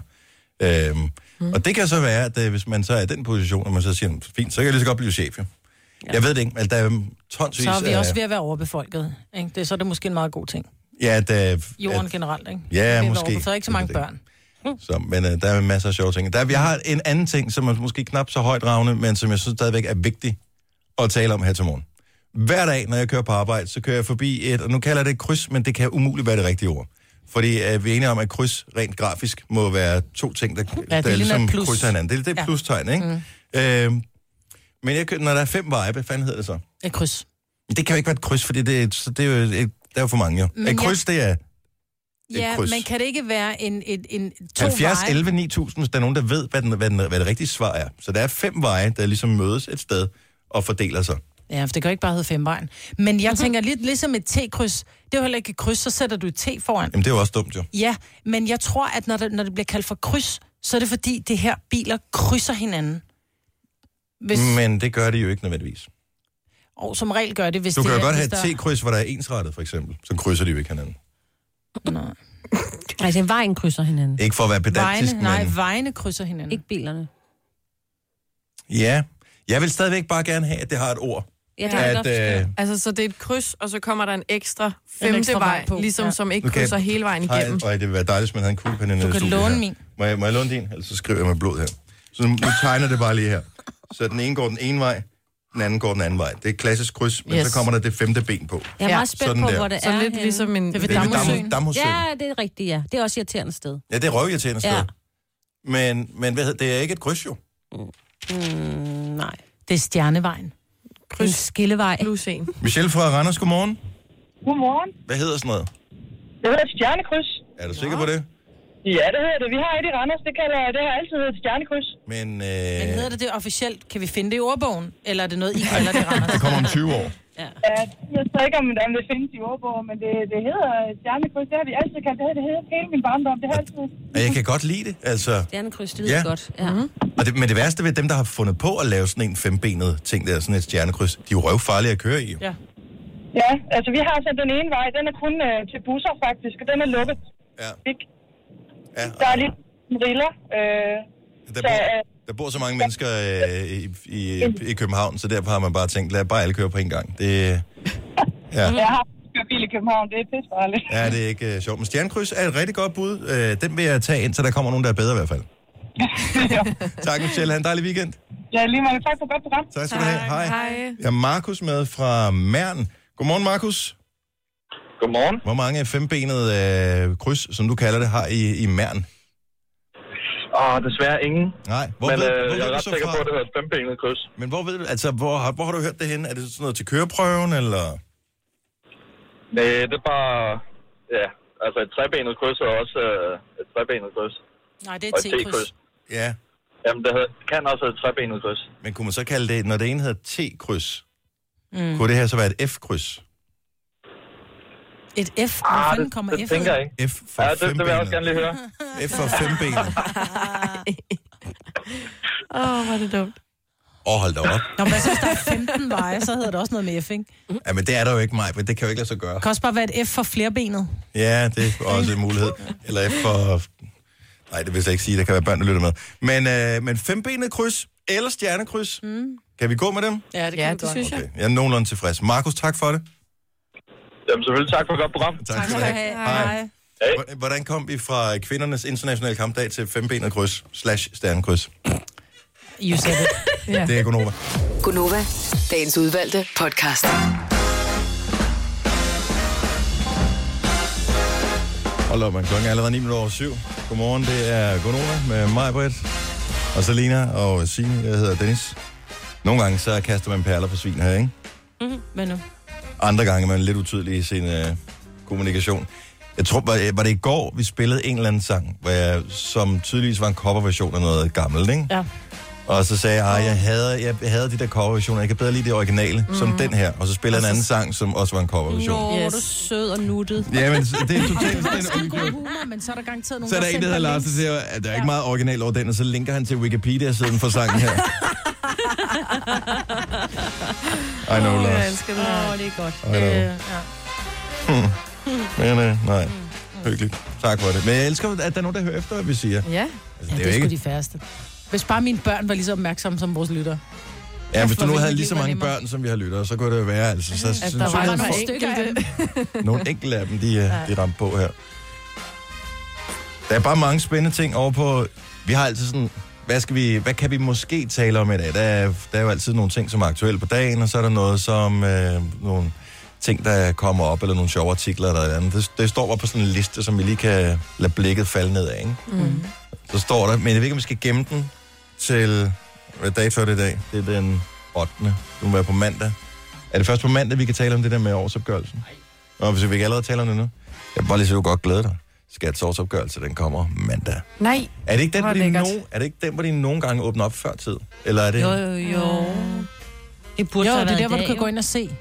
S1: Øhm, mm. Og det kan så være, at øh, hvis man så er i den position, og man så siger, fint, så kan jeg lige så godt blive chef, jo. Ja. Jeg ved det ikke, men der er øhm, tonsvis
S4: Så er vi
S1: af-
S4: også ved at være overbefolket. Ikke? Det, så er det måske en meget god ting.
S1: Ja, der,
S4: Jorden
S1: at,
S4: generelt, ikke?
S1: Ja,
S4: Vi er ved at være
S1: måske.
S4: overbefolket. Så er ikke så
S1: Det er
S4: mange
S1: det.
S4: børn.
S1: så, men øh, der er masser af sjove ting. Der, vi har en anden ting, som er måske knap så højt ravne, men som jeg synes stadigvæk er vigtig at tale om her til morgen. Hver dag, når jeg kører på arbejde, så kører jeg forbi et, og nu kalder jeg det et kryds, men det kan umuligt være det rigtige ord. Fordi øh, vi er enige om, at kryds rent grafisk må være to ting, der, ja,
S4: det
S1: der
S4: ligner
S1: ligesom
S4: et plus.
S1: krydser hinanden. Det, det er
S4: Ja.
S1: plustegn, ikke? Mm. Øhm, men jeg, kø- når der er fem veje, hvad fanden hedder det så?
S4: Et kryds.
S1: Det kan jo ikke være et kryds, fordi det, er et- så det er jo et, der er jo for mange jo.
S4: Men
S1: et
S4: jeg-
S1: kryds, det er
S4: Ja,
S1: kryds.
S4: men kan det ikke være en, en, en to
S1: 70,
S4: veje?
S1: 11, 9000, hvis der er nogen, der ved, hvad, den, hvad, den, hvad det rigtige svar er. Så der er fem veje, der ligesom mødes et sted og fordeler sig.
S4: Ja, for det kan jo ikke bare hedde femvejen. Men jeg tænker lidt ligesom et T-kryds. Det er jo heller ikke et kryds, så sætter du et T foran.
S1: Jamen, det er jo også dumt, jo.
S4: Ja, men jeg tror, at når det, når det bliver kaldt for kryds, så er det fordi, det her biler krydser hinanden. Hvis, men...
S1: Men det gør det jo ikke nødvendigvis.
S4: Og som regel gør det, hvis
S1: Du
S4: det
S1: kan jo
S4: er,
S1: godt have
S4: hvis der-
S1: et T-kryds, hvor der er ensrettet, for eksempel. Så krydser de jo ikke hinanden.
S4: Nej.
S3: Altså, vejen krydser hinanden.
S1: Ikke for at være pedantisk,
S4: Vejene, nej,
S1: men...
S4: vejene krydser hinanden.
S3: Ikke bilerne.
S1: Ja. Jeg vil stadigvæk bare gerne have, at det har et ord.
S3: Ja, det
S1: At, øh,
S2: Altså, så det er et kryds, og så kommer der en ekstra femte en
S4: ekstra
S2: ekstra
S4: vej
S2: vej,
S4: på,
S2: ligesom
S4: ja.
S2: som ikke
S1: Okay.
S2: krydser hele vejen
S1: ej,
S2: igennem.
S1: ej, det ville være dejligt, hvis man havde en kuglepen i
S4: Du kan
S1: studiet
S4: låne
S1: her.
S4: min.
S1: Må jeg, må jeg låne din? Ellers så skriver jeg med blod her. Så nu, nu tegner det bare lige her. Så den ene går den ene vej, den anden går den anden vej. Det er et klassisk kryds, men yes.
S2: Yes.
S1: så kommer der det femte ben på.
S3: Jeg er
S4: Ja,
S3: meget spændt
S1: sådan
S3: på,
S1: der.
S3: hvor det
S2: Så
S3: er.
S2: lidt
S3: henne.
S2: ligesom en...
S4: Det
S2: Det
S4: vil
S1: Det er ved
S4: Damhusøen.
S1: Dam- Damhusøen.
S3: Ja, det er rigtigt, ja. Det er også et irriterende sted.
S1: Ja, det er røvirriterende sted. Ja.
S3: Ja.
S1: Men, men hvad, hed- det er ikke et kryds, jo.
S3: Mm, nej.
S4: Det er stjernevejen.
S3: Kryds. En skillevej.
S2: plus en.
S1: Michelle fra Randers, godmorgen.
S8: Godmorgen.
S1: Hvad hedder sådan noget?
S8: Det hedder et stjernekryds.
S1: Er du sikker på det?
S8: Ja, det hedder det. Vi har et i Randers. Det, kalder, det har altid heddet et stjernekryds.
S1: Men, øh,
S4: Men hedder det det officielt? Kan vi finde det i ordbogen? Eller er det noget, I kalder det,
S1: det
S4: Randers?
S1: kommer om 20 år.
S8: Ja, jeg ved ikke, om, om det findes i ordbog, men det, det hedder et stjernekryds. Det har vi altid kaldt. Det hedder det hedder hele min barndom. Det har altid.
S1: Og jeg kan godt lide det, altså.
S3: Det er en kryds, det
S1: Ja. Mhm.
S3: lyder godt. Ja. Mm-hmm.
S1: Og det, men det værste ved dem, der har fundet på at lave sådan en fembenet ting, der er sådan et stjernekryds, de er jo røvfarlige at køre i. jo.
S8: Ja, altså vi har sådan den ene vej. Den er kun øh, til busser, faktisk. Og den er lukket.
S1: Ja.
S8: Ikke?
S1: ja.
S8: Der er
S1: og
S8: lidt riller. Øh,
S1: Der,
S8: så,
S1: bor,
S8: øh,
S1: der bor så mange mennesker øh, i, i, i København, så derfor har man bare tænkt, lad bare alle køre på en gang. Det, ja.
S8: jeg har kørt bil i København. Det er pissefarligt.
S1: Ja, det er ikke øh, sjovt. Men stjernekryds er et rigtig godt bud. Øh, den vil jeg tage ind, så der kommer nogen, der er bedre i hvert fald. tak, Michelle. Ha' en dejlig weekend.
S8: Ja, lige meget. Tak for et godt program.
S1: Tak skal du have. Hej.
S2: Hej.
S1: Jeg er Markus med fra Mern. Godmorgen, Markus.
S9: Godmorgen.
S1: Hvor mange fembenede øh, kryds, som du kalder det, har I i Mern?
S9: Og Ah, desværre ingen.
S1: Nej, hvor
S9: Hvor Men
S1: ved,
S9: øh,
S1: hvor
S9: jeg er
S1: ved du
S9: ret
S1: så
S9: sikker
S1: fra?
S9: på, at det hedder et fembenet kryds.
S1: Men hvor ved du, altså, hvor, har- hvor har du hørt det henne? Er det sådan noget til køreprøven, eller?
S9: Nej, det er bare... Ja, altså et trebenet kryds er også øh, et trebenet kryds.
S4: Nej, det er
S9: Og
S4: et
S9: et T-kryds.
S4: T-kryds.
S1: Ja,
S9: Jamen, det hedder, kan også hedde et trebenet kryds.
S1: men kunne man så kalde det, når det ene hedder T-kryds, mm. kunne det her så være et F-kryds?
S4: Et F.
S8: Ah,
S4: Hvor fanden
S9: det,
S4: kommer
S9: det
S4: F
S9: tænker
S4: ud?
S9: jeg ikke.
S1: F for
S9: Ja, det, det vil jeg også
S1: fembenet.
S9: gerne lige høre.
S1: F for fembenet.
S2: Åh, oh, hvor er det dumt.
S1: Åh, oh, hold da op.
S4: Nå, men altså, hvis der er 15 veje, så hedder det også noget med F, ikke?
S1: Ja, men det er der jo ikke mig, men det kan jo ikke lade sig gøre.
S4: Det kan også bare være et F for flerbenet.
S1: Ja, det er også en mulighed. Eller F for... Nej, det vil jeg slet ikke sige. Der kan være børn, der lytter med. Men, øh, men fembenet kryds eller stjernekryds. Mm. Kan vi gå med dem?
S4: Ja, det
S2: Ja, det synes jeg.
S1: Okay. Jeg er nogenlunde tilfreds. Markus, tak for det.
S9: Jamen, selvfølgelig tak for et godt program.
S1: Tak skal du have. Hvor- Hvordan kom vi fra kvindernes internationale kampdag til fembenet kryds slash stjernekryds?
S4: You said it.
S1: Det er Gunova.
S5: Gunova, dagens udvalgte podcast.
S1: Hold op, man. Klokken er allerede 9 minutter over syv. Godmorgen, det er Gunova med mig, Britt, og Selina og Signe. Jeg hedder Dennis. Nogle gange så kaster man perler på svin her, ikke? Mhm.
S4: Men øh, nu.
S1: Andre gange er man lidt utydelig i sin øh, kommunikation. Jeg tror, var, var det i går, vi spillede en eller anden sang, hvor jeg, som tydeligvis var en coverversion af noget gammelt, ikke?
S4: Ja.
S1: Og så sagde jeg, at jeg hader, jeg hader de der coverversioner, jeg kan bedre lide det originale, mm. som den her. Og så spillede jeg en anden sang, som også var en coverversion.
S3: Nå, yes.
S2: Yes.
S3: du er sød og nuttet.
S1: Jamen, det er totalt
S4: Skide
S1: sådan
S4: god humor, men så er der garanteret nogen,
S1: så er der en, der hedder Lars, der siger, at der er ikke meget original over den, og så linker han til Wikipedia-siden for sangen her. I know,
S2: Jeg
S1: Lars.
S2: elsker det her.
S4: det er godt.
S1: I know. Hmm.
S4: ja.
S1: Men øh, nej, hyggeligt. Tak for det. Men jeg elsker, at der er nogen, der hører efter, hvad vi siger.
S2: Ja.
S1: Altså,
S4: Ja, det er, sgu de færreste. Hvis bare mine børn var lige så opmærksomme som vores lytter.
S1: Ja, hvis du
S4: Altså, Hvor
S1: nu
S4: ville
S1: havde
S4: mit
S1: lige
S4: liv
S1: så
S4: være
S1: mange
S4: nemmere.
S1: børn, som vi har lyttet, så kunne det jo være, altså, så, så,
S2: At
S1: så
S2: der var
S4: Der er
S2: nogle
S4: nogle stykker af
S2: enkelte.
S4: dem.
S1: nogle enkelte af dem, de, øh, de ramte på her. Der er bare mange spændende ting over på... Vi har altid sådan... Hvad, skal vi, hvad kan vi måske tale om i dag? Der er, der er jo altid nogle ting, som er aktuelle på dagen, og så er der noget, som øh, nogle ting, der kommer op, eller nogle sjove artikler eller et eller andet. Det, det står bare på sådan en liste, som vi lige kan lade blikket falde ned af, ikke?
S2: Mm.
S1: Så står der, men jeg ved ikke, om vi skal gemme den til... Hvad dag før det i dag? Det er den 8. Det må være på mandag. Er det først på mandag, vi kan tale om det der med årsopgørelsen? Nej. Nå, hvis vi ikke allerede taler om det nu. Jeg vil bare lige så godt glæde dig. Skats årsopgørelse, den kommer mandag.
S2: Nej.
S1: Er det ikke den,
S2: Hvor
S1: hvor de,
S2: lækkert.
S1: nogen, er det ikke den, hvor de nogle gange åbner op før tid? Eller er det...
S3: Jo, jo, jo. Det burde
S4: Jo,
S3: så
S4: det
S3: have
S4: er
S3: været
S4: der, hvor
S3: i
S4: du
S3: dag,
S4: kan gå
S3: jo.
S4: ind og se,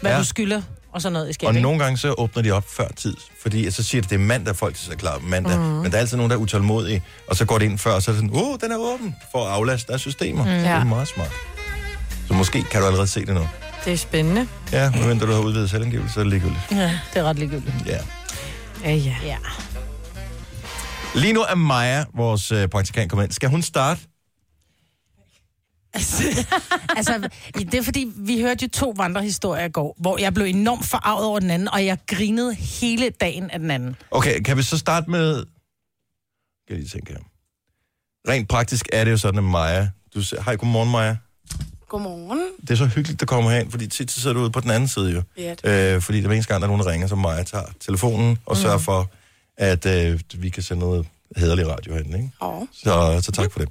S4: hvad
S1: Ja.
S4: ja. du skylder og sådan noget. i skabet,
S1: Og
S4: ikke?
S1: nogle gange så åbner de op før tid, fordi så siger de, det er mandag, folk er klar mandag, mm. men der er altid nogen, der er utålmodige, og så går det ind før, og så er det sådan, åh, oh, den er åben, for at aflaste af systemer. Mm. Det er
S2: Ja.
S1: meget smart. Så måske kan du allerede se det nu.
S2: Det er spændende.
S1: Ja, medmindre du har udvidet selvangivelse, så er det ligegyldigt.
S4: Ja, det er ret ligegyldigt.
S1: Ja.
S2: Ja, ja.
S4: Ja.
S1: Lige nu er Maja, vores øh, praktikant, kommet ind. Skal hun starte?
S4: altså, det er fordi, vi hørte jo to vandrehistorier i går, hvor jeg blev enormt forarvet over den anden, og jeg grinede hele dagen af den anden.
S1: Okay, kan vi så starte med... Kan jeg lige tænke her. Rent praktisk er det jo sådan, at Maja... Du siger, hej, godmorgen, Maja.
S10: Godmorgen.
S1: Det er så hyggeligt, du kommer herind, fordi tit så sidder du ude på den anden side jo.
S10: Ja, det-
S1: Øh, fordi det er eneste gang, der er nogen, der ringer, så Maja tager telefonen og
S10: Mm.
S1: sørger for, at øh, vi kan sende noget hederlig radio hen, ikke?
S10: Og
S1: Så, så tak for det.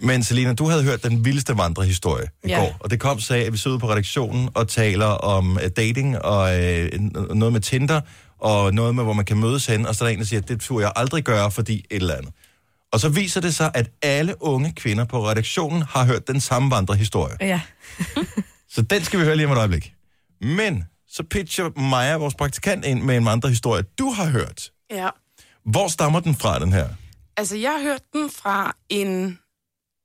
S1: Men Selina, du havde hørt den vildeste vandrehistorie i
S2: Ja.
S1: går, og det kom sig af, at vi sidder ude på redaktionen og taler om uh, dating og uh, noget med Tinder, og noget med, hvor man kan mødes hen, og så er der en, der siger, det tror jeg aldrig gøre, fordi et eller andet. Og så viser det sig, at alle unge kvinder på redaktionen har hørt den samme vandrehistorie.
S2: Ja.
S1: Så den skal vi høre lige om et øjeblik. Men så pitcher Maja, vores praktikant, ind med en vandrehistorie, du har hørt.
S10: ja.
S1: Hvor stammer den fra, den her?
S10: Altså, jeg har hørt den fra en,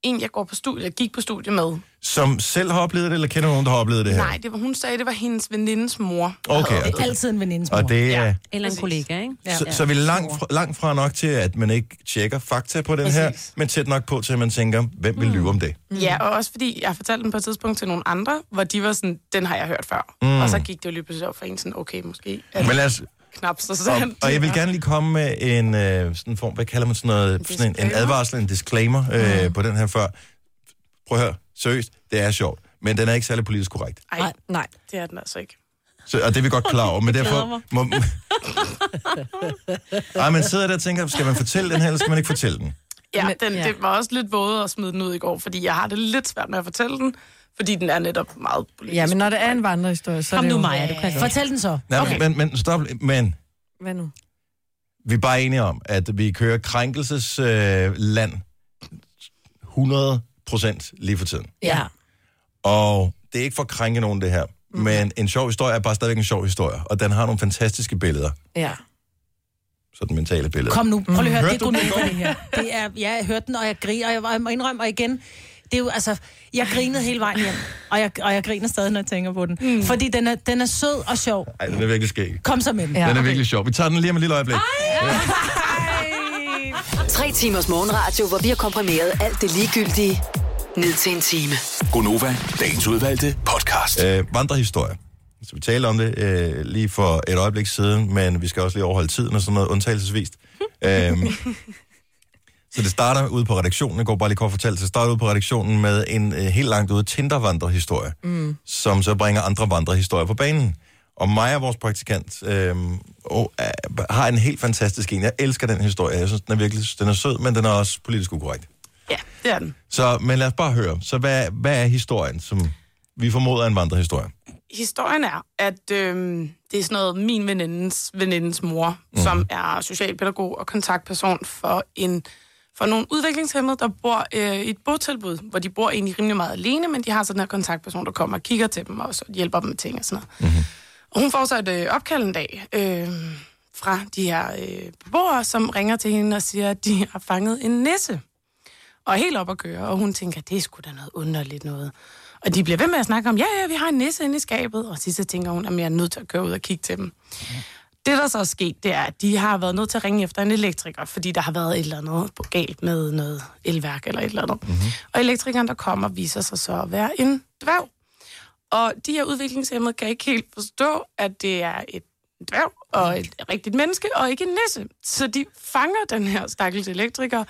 S10: en jeg går på studie, jeg gik på studie med.
S1: Som selv har oplevet det, eller kender nogen, der har oplevet det her?
S10: Nej, det var, hun sagde, det var hendes venindes mor.
S1: Okay,
S4: Det er altid en venindes mor.
S1: og det er...
S3: Eller en
S10: Præcis.
S3: kollega, ikke?
S1: Ja. Så, så vi er langt fra, langt fra nok til, at man ikke tjekker fakta på den her,
S10: Præcis. Hmm.
S1: men tæt nok på til, at man tænker, hvem vil lyve om det?
S10: Mm. Ja, og også fordi jeg fortalte den på et tidspunkt til nogle andre, hvor de var sådan, den har jeg hørt før. Mm. Og så gik det jo lige pludselig op for en sådan, okay, måske er
S1: Men
S10: det
S1: lad os,
S10: knap så
S1: og,
S10: sandt.
S1: og jeg vil
S10: Ja.
S1: gerne lige komme med en øh, sådan form, hvad kalder man sådan noget, sådan en, en
S10: disclaimer? Hmm.
S1: advarsel, en disclaimer øh, på den her før. Prøv at høre, seriøst, det er sjovt, men den er ikke særlig politisk korrekt.
S10: Ej,
S2: Nej.
S10: det er den altså ikke.
S1: Så, og det er vi godt klar over, men derfor... Må, Ej, man sidder der og tænker, skal man fortælle den her, eller skal man ikke fortælle den?
S10: Ja,
S2: Men-
S10: den,
S2: ja.
S10: ja. det var også lidt våget at smide den ud i går, fordi jeg har det lidt svært med at fortælle den, fordi den er netop meget politisk.
S2: Ja, men når det er en vandrehistorie, så er
S3: Kom
S2: det jo...
S3: nu, Maja, du kan
S4: Fortæl den så.
S1: Nej, okay. men, men stop, men
S2: Hvad nu?
S1: vi er bare enige om, at vi kører krænkelsesland øh, land 100 procent lige for tiden.
S3: Ja.
S1: Og det er ikke for at krænke nogen, det her. Mm. Men en sjov historie er bare stadigvæk en sjov historie, og den har nogle fantastiske billeder.
S2: Ja.
S1: Sådan mentale billeder.
S4: Kom nu, prøv lige
S1: Mm.
S4: at høre,
S1: Hørte
S4: det
S1: du
S4: er
S1: den i går?
S4: Gunova, det her. Det er, ja, jeg hørte den, og jeg griner, og jeg var- jeg må indrømme, og igen, det er jo, altså, jeg grinede hele vejen hjem, og jeg, og jeg griner stadig, når jeg tænker på den. Mm. Fordi den er, den er sød og sjov.
S1: Ej, den er virkelig skæg.
S4: Kom så med den.
S2: Ja.
S1: Den er virkelig sjov. Vi tager den lige om et lille øjeblik.
S5: Tre timers morgenradio, hvor vi har komprimeret alt det ligegyldige ned til en time.
S6: Gonova, dagens udvalgte podcast.
S1: Øh, vandrehistorie. Så vi talte om det øh, lige for et øjeblik siden, men vi skal også lige overholde tiden og sådan noget, undtagelsesvist. øhm, så det starter ude på redaktionen, jeg går bare lige kort fortalt, så det starter ude på redaktionen med en øh, helt langt ude Tinder-vandrehistorie, mm. som så bringer andre vandrehistorier på banen. Og Maja, vores praktikant, øh, og, øh, har en helt fantastisk en. Jeg elsker den historie. Jeg synes, den er virkelig den er sød, men den er også politisk ukorrekt.
S10: Ja, det er den.
S1: Så, men lad os bare høre. Så hvad, hvad er historien, som vi formoder er en vandrehistorie?
S10: historien er, at øhm, det er sådan noget min venindens, venindens mor, mm. som er socialpædagog og kontaktperson for en for nogle udviklingshemmede, der bor øh, i et botilbud, hvor de bor egentlig rimelig meget alene, men de har sådan her kontaktperson, der kommer og kigger til dem og så hjælper dem med ting og sådan noget. Og hun får så et øh, opkald en dag øh, fra de her øh, beboere, som ringer til hende og siger, at de har fanget en nisse. Og er helt op at køre, og hun tænker, det er sgu da noget underligt noget. Og de bliver ved med at snakke om, ja, ja, vi har en nisse inde i skabet. Og sidst så tænker hun, at jeg er nødt til at køre ud og kigge til dem. Det, der så er sket, det er, at de har været nødt til at ringe efter en elektriker, fordi der har været et eller andet på- galt med noget elværk eller et eller andet. Mm-hmm. Og elektrikeren, der kommer, viser sig så at være en dværg. Og de her udviklingshemmede kan ikke helt forstå, at det er et dværg og et rigtigt menneske, og ikke en nisse. Så de fanger den her stakkels elektriker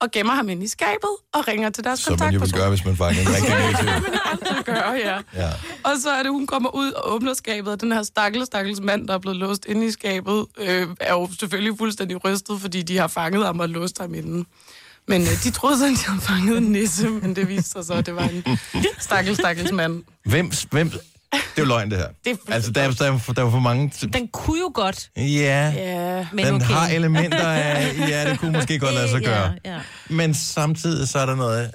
S10: og gemmer ham inde i skabet og ringer til deres
S1: Som man jo vil
S10: kontaktperson.
S1: gøre, hvis man fanger en rigtig negativ.
S10: Det vil jeg aldrig gøre, ja.
S1: Ja.
S10: Og så er det, hun kommer ud og åbner skabet, og den her stakkels, stakkels mand, der er blevet låst inde i skabet, øh, er jo selvfølgelig fuldstændig rystet, fordi de har fanget ham og låst ham inden. Men øh, de troede sådan, de havde fanget en nisse, men det viste sig så, at det var en stakkels, stakkels mand.
S1: Hvem, hvem... Det er jo løgn, det her.
S10: Det er
S1: altså, der, er- der, er for- der var for mange... t-
S3: Den kunne jo godt.
S1: Ja,
S10: Ja.
S3: Men
S1: den
S3: okay.
S1: har elementer af... Ja, det kunne måske godt lade sig gøre.
S3: Ja, ja.
S1: Men samtidig så er der noget...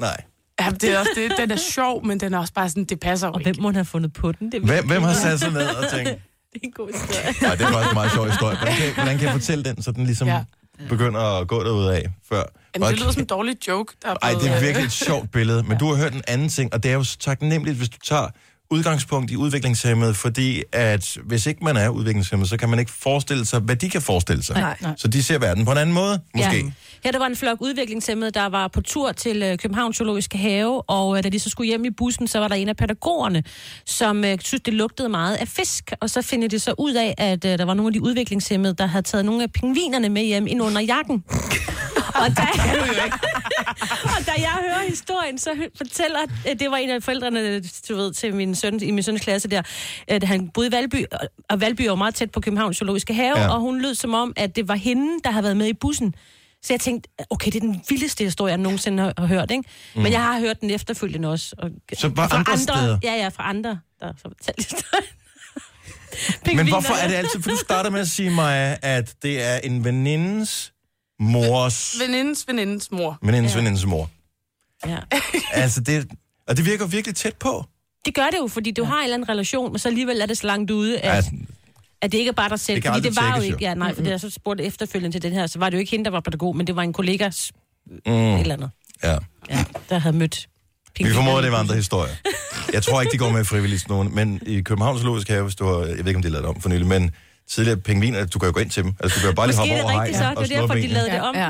S1: Nej.
S10: Ja, det er også, det, den er sjov, men den er også bare sådan, det passer jo
S3: Og
S10: ikke.
S3: hvem må have fundet på den? Det
S1: Hvem, hvem har sat sig ned og tænkt...
S3: Det er en god historie.
S1: Nej, det er faktisk en meget sjov historie. Hvordan kan, hvordan kan jeg fortælle den, så den ligesom ja.
S10: Ja.
S1: begynder at gå derud af før?
S10: Jamen,
S1: Hvor-
S10: det lyder som en dårlig joke. Der er
S1: Ej,
S10: blevet-
S1: det er virkelig et sjovt billede, men du har hørt en anden ting, og det er jo så taknemmeligt, hvis du tager udgangspunkt i udviklingshemmede, fordi at hvis ikke man er udviklingshemmet, så kan man ikke forestille sig, hvad de kan forestille sig.
S2: Nej.
S1: Så de ser verden på en anden måde, måske. Ja.
S3: Her der var en flok udviklingshemmede, der var på tur til øh, Københavns Zoologiske Have, og øh, da de så skulle hjem i bussen, så var der en af pædagogerne, som øh, synes, det lugtede meget af fisk, og så finder de så ud af, at øh, der var nogle af de udviklingshemmede, der havde taget nogle af pingvinerne med hjem ind under jakken. og da, og da jeg hører historien, så hø- fortæller, øh, det var en af forældrene du ved, til min søn, i min søns klasse der, at han boede i Valby, og- og Valby er jo meget tæt på Københavns Zoologiske Have,
S1: Ja.
S3: ja. og hun lød som om, at det var hende, der havde været med i bussen. Så jeg tænkte, okay, det er den vildeste historie, jeg nogensinde har, har hørt, ikke? Mm. Men jeg har hørt den efterfølgende også. Og,
S1: Så bare
S3: fra
S1: andre steder?
S3: Ja, ja, fra andre, der så fortalte historien.
S1: Men
S3: Pingvinerne.
S1: hvorfor er det altid, for du starter med at sige mig, at det er en venindens mors...
S10: Venindens venindens mor.
S1: Venindens venindens mor.
S3: Ja.
S1: Altså, det, og det virker virkelig tæt på.
S3: Det gør det jo, fordi du har en eller anden relation, men så alligevel er det så langt ude, at,
S1: Altså,
S3: at det ikke er bare dig selv.
S1: Det kan
S3: fordi
S1: aldrig
S3: det var jo
S1: tjekkes, jo.
S3: ikke, ja, nej, for da jeg så spurgte efterfølgende til den her, så var det jo ikke hende, der var pædagog, men det var en kollegas mm. eller andet,
S1: ja.
S3: ja, der havde mødt
S1: Vi
S3: pingvinerne
S1: formoder,
S3: i
S1: det var andre
S3: bussen.
S1: historier. Jeg tror ikke, de går med frivilligt sådan nogen, men i Københavns Zoologiske Have, hvis du har, jeg ved ikke, om de lavede det om for nylig, men tidligere pingviner, du kan jo gå ind til dem. Altså, du kan jo bare lige
S3: Måske
S1: hoppe over
S3: er det rigtigt
S1: hegnet
S3: så,
S1: og
S3: det er
S1: slå
S3: derfor, de
S1: benene.
S3: lavede det om.
S2: Ja.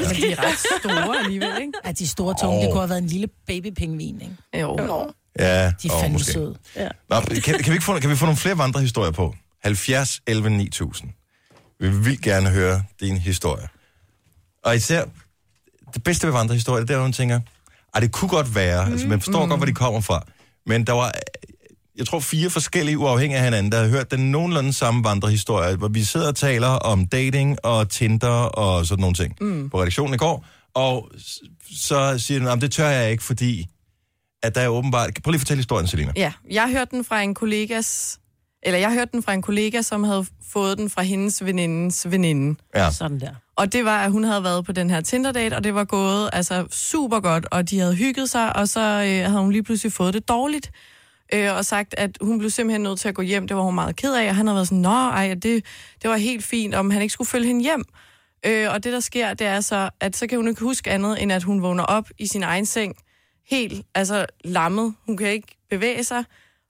S2: Ja. De er ret store alligevel, ikke?
S4: Ja, de store tunge,
S1: Åh.
S4: det kunne have været en lille babypingvin, ikke?
S2: Jo.
S1: Ja,
S4: De er
S1: og
S4: fandme
S1: måske.
S4: søde.
S1: Nå, kan, kan, vi ikke få, kan vi få nogle flere vandrehistorier på? 70 11 9000. Vi vil gerne høre din historie. Og især, det bedste ved vandrehistorier, det er, at man tænker, ej, det kunne godt være, mm. altså man forstår mm. godt, hvor de kommer fra, men der var, øh, jeg tror, fire forskellige uafhængige af hinanden, der havde hørt den nogenlunde samme vandrehistorie, hvor vi sidder og taler om dating og Tinder og sådan nogle ting mm. på redaktionen i går, og s- så siger den, "Ah, det tør jeg ikke, fordi at der er åbenbart... Prøv lige at fortælle historien, Selina.
S2: Ja, jeg hørte den fra en kollegas... Eller jeg hørte den fra en kollega, som havde fået den fra hendes venindens veninde.
S1: Ja.
S3: Sådan der.
S2: Og det var, at hun havde været på den her Tinder-date, og det var gået altså super godt, og de havde hygget sig, og så øh, havde hun lige pludselig fået det dårligt, øh, og sagt, at hun blev simpelthen nødt til at gå hjem, det var hun meget ked af, og han havde været sådan, nå, ej, det, det var helt fint, om han ikke skulle følge hende hjem. Øh, og det, der sker, det er så, at så kan hun ikke huske andet, end at hun vågner op i sin egen seng, helt, altså lammet, hun kan ikke bevæge sig,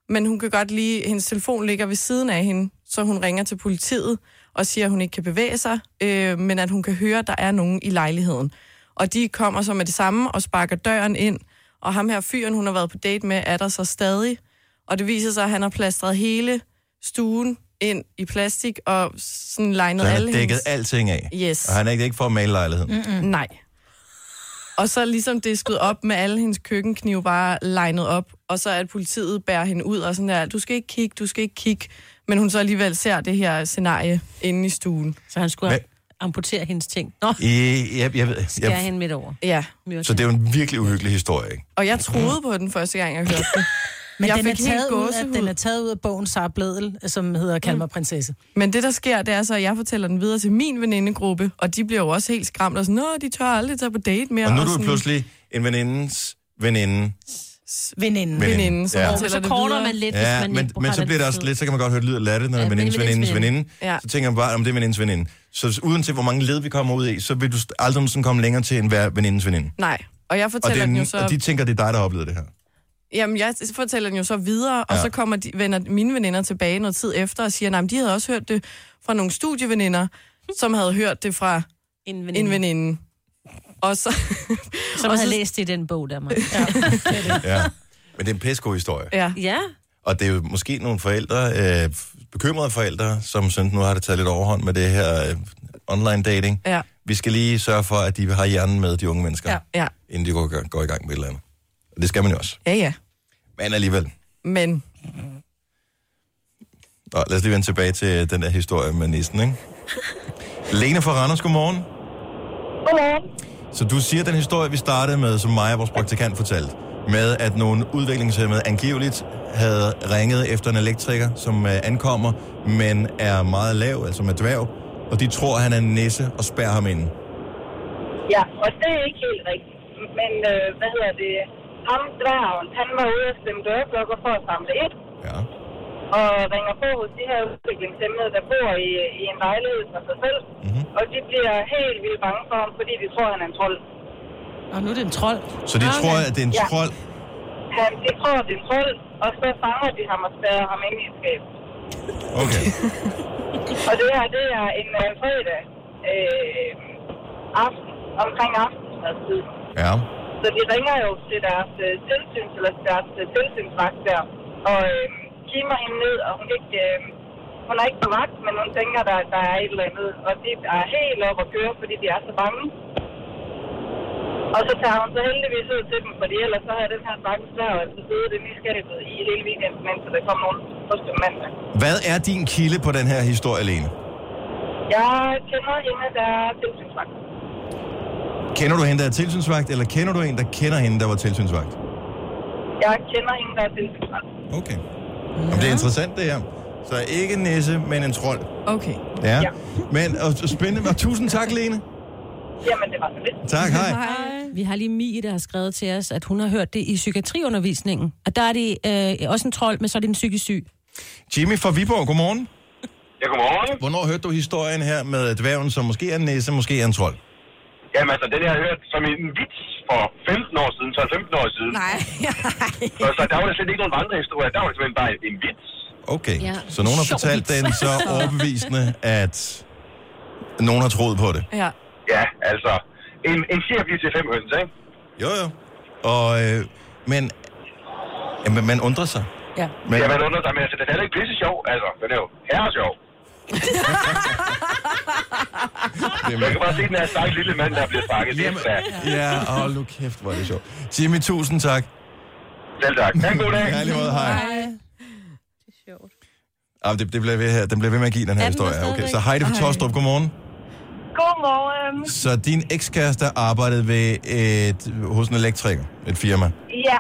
S2: men hun kan godt lige, hendes telefon ligger ved siden af hende, så hun ringer til politiet og siger, at hun ikke kan bevæge sig, øh, men at hun kan høre, at der er nogen i lejligheden. Og de kommer så med det samme og sparker døren ind, og ham her fyren, hun har været på date med, er der så stadig. Og det viser sig, at han har plastret hele stuen ind i plastik og sådan legnet
S1: Så han
S2: alle
S1: har dækket
S2: hendes...
S1: alting af.
S2: Yes.
S1: Og han er ikke, det er ikke for at male lejligheden. Mm.
S2: Mm. Nej. Og så ligesom disket op med alle hendes køkkenknive bare legnet op, og så at politiet bærer hende ud og sådan der, du skal ikke kigge, du skal ikke kigge. Men hun så alligevel ser det her scenarie inde i stuen.
S3: Så han skulle
S1: Hvad?
S3: have amputere hendes ting. Nå,
S1: I, jeg, jeg, ved-
S3: skære
S1: jeg,
S3: hende midt over.
S2: Ja.
S3: Myrden.
S1: så det er jo en virkelig uhyggelig historie, ikke?
S2: Og jeg troede på den første gang, jeg hørte den.
S4: Men
S2: Jeg
S4: jeg den, er
S2: fik helt
S4: taget ud af,
S2: gåsehud.
S4: den er taget ud af bogen Sara Bledel, som hedder Kald mig prinsesse.
S2: Men det, der sker, det er så, at jeg fortæller den videre til min venindegruppe, og de bliver jo også helt skræmt og sådan, Nå, de tør aldrig tage på date mere.
S1: Og nu er
S2: og
S1: du
S2: sådan,
S1: pludselig en venindens veninde.
S4: Veninden.
S1: Veninde.
S2: veninde, som
S1: Ja.
S2: ja.
S3: Men
S2: fortæller
S3: så
S2: det
S3: korter
S2: videre.
S3: man lidt, hvis
S1: Ja,
S3: man
S1: men,
S3: ikke
S1: men
S3: har
S1: så
S3: den
S1: bliver det også
S3: tid.
S1: lidt, så kan man godt høre det lyder latte, når
S3: Ja,
S1: ja, venindens venindens
S3: venindens veninde.
S1: veninde.
S2: Ja.
S1: Så tænker man bare, om det er venindens veninde. Så uanset hvor mange led vi kommer ud i, så vil du st- aldrig nogensinde komme længere til en hver venindens veninde.
S2: Nej, og jeg
S1: Og,
S2: fortæller den jo
S1: den,
S2: så...
S1: og de tænker, det er dig, der har oplevet det her.
S2: Jamen, jeg fortæller den jo så videre, og
S1: Ja.
S2: ja. så kommer de, vender mine veninder tilbage noget tid efter og siger, nej, de havde også hørt det fra nogle studieveninder, som havde hørt det fra
S3: En
S2: en
S3: veninde,
S2: veninde. Og så...
S3: som
S2: og
S3: havde
S2: så-
S3: læst det i den bog der, man.
S1: Ja. Men det er en pæsko historie.
S2: Ja.
S3: Ja,
S1: Og det er jo måske nogle forældre, øh, bekymrede forældre, som synes, nu har det taget lidt overhånd med det her øh, online dating.
S2: Ja.
S1: Vi skal lige sørge for, at de har hjernen med, de unge mennesker,
S2: Ja. Ja,
S1: inden de går, går i gang med et eller andet. Og det skal man jo også.
S2: ja. ja.
S1: Men alligevel.
S2: Men
S1: Nå, lad os lige vende tilbage til den der historie med nissen, ikke? Lene fra Randers, godmorgen.
S11: Godmorgen.
S1: Så du siger den historie, vi startede med, som Maja, vores praktikant, fortalte, med at nogle udviklingshemmede angiveligt havde ringet efter en elektriker, som øh, ankommer, men er meget lav, altså med dværg, og de tror, han er en nisse og spærrer ham inde.
S11: Ja, og det er ikke helt rigtigt. Men øh, hvad hedder det? Ham dværgen, han var ude og stemme dørblokker for at samle ind.
S1: Ja.
S11: Og ringer på hos de her udviklingshemmede, der bor i, i en lejlighed for sig selv.
S1: Mhm.
S11: Mm-hmm. Og de bliver helt vildt bange for ham, fordi de tror, han er en trold.
S12: Og nu er det en trold.
S1: Så de okay. tror, at det er en
S11: Ja.
S1: trold.
S11: Han, de tror, det er en trold, og så fanger de ham og spærrer ham ind i et skab.
S1: Okay.
S11: Og det her, det er en øh, fredag øh, aften, omkring aftensmadstid.
S1: Ja.
S11: Så de ringer jo til deres øh, tilsyns, eller til deres øh, tilsynsvagt der, og øh, kimer hende ned, og hun, kan ikke, øh, hun er ikke på vagt, men hun tænker, der, der er et eller andet. Og de er helt op at køre, fordi de er så bange. Og så tager hun så heldigvis ud til dem, fordi ellers så har den her stakkels der altså siddet inde i skabet i hele weekenden, indtil der kom nogen hos dem mandag.
S1: Hvad er din kilde på den her historie, Lene?
S11: Jeg kender hende, der er tilsynsvagt.
S1: Kender du hende, der er tilsynsvagt, eller kender du en, der kender hende, der var tilsynsvagt?
S11: Jeg kender hende, der er tilsynsvagt.
S1: Okay. Jamen, det er interessant, det her. Så ikke en nisse, men en trold.
S2: okay.
S1: Ja. ja. Men og, og spændende. Og tusind tak, Lene.
S11: Jamen, det var så lidt.
S1: Tak, hej.
S3: Vi har lige Mie, der har skrevet til os, at hun har hørt det i psykiatriundervisningen. Og der er det øh, også en trold, men så er det en psykisk syg.
S1: Jimmy fra Viborg, godmorgen.
S13: Ja, godmorgen.
S1: Hvornår hørte du historien her med dværgen, som måske er en næse, måske er en trold?
S13: Jamen altså, den har jeg hørt som en vits for 15 år siden, 12-15 år siden.
S2: Nej.
S13: Så, så der var der slet ikke nogen vandrehistorie, der var det simpelthen bare en vits.
S1: Okay,
S2: Ja.
S1: ja. så nogen har
S2: Sjovt.
S1: fortalt den så overbevisende, at nogen har troet på det.
S2: Ja.
S13: Ja, altså, en, en fjer bliver til fem høns, ikke?
S1: Jo, jo. Og, øh, men jamen, man undrer sig.
S2: Ja.
S1: Men,
S13: Ja, man undrer sig, men altså, den er da ikke pisse sjov, altså, den er jo herre sjov. Man kan bare se den her stakke lille mand, der bliver fanget. Det er svært.
S1: ja, hold nu kæft, hvor er det sjovt. Jimmy, tusind tak.
S13: Selv tak. Ha' en god dag.
S1: Ja, lige måde, hej. Ah, det, det bliver ved her. Den bliver ved med at give den her
S3: Er den der
S1: historie. Okay,
S3: stadigvæk?
S1: så Heidi fra
S2: Ej.
S1: Tostrup, godmorgen.
S11: Godmorgen.
S1: Så din ekskæreste arbejdede ved et, hos en elektriker, et firma.
S11: Ja,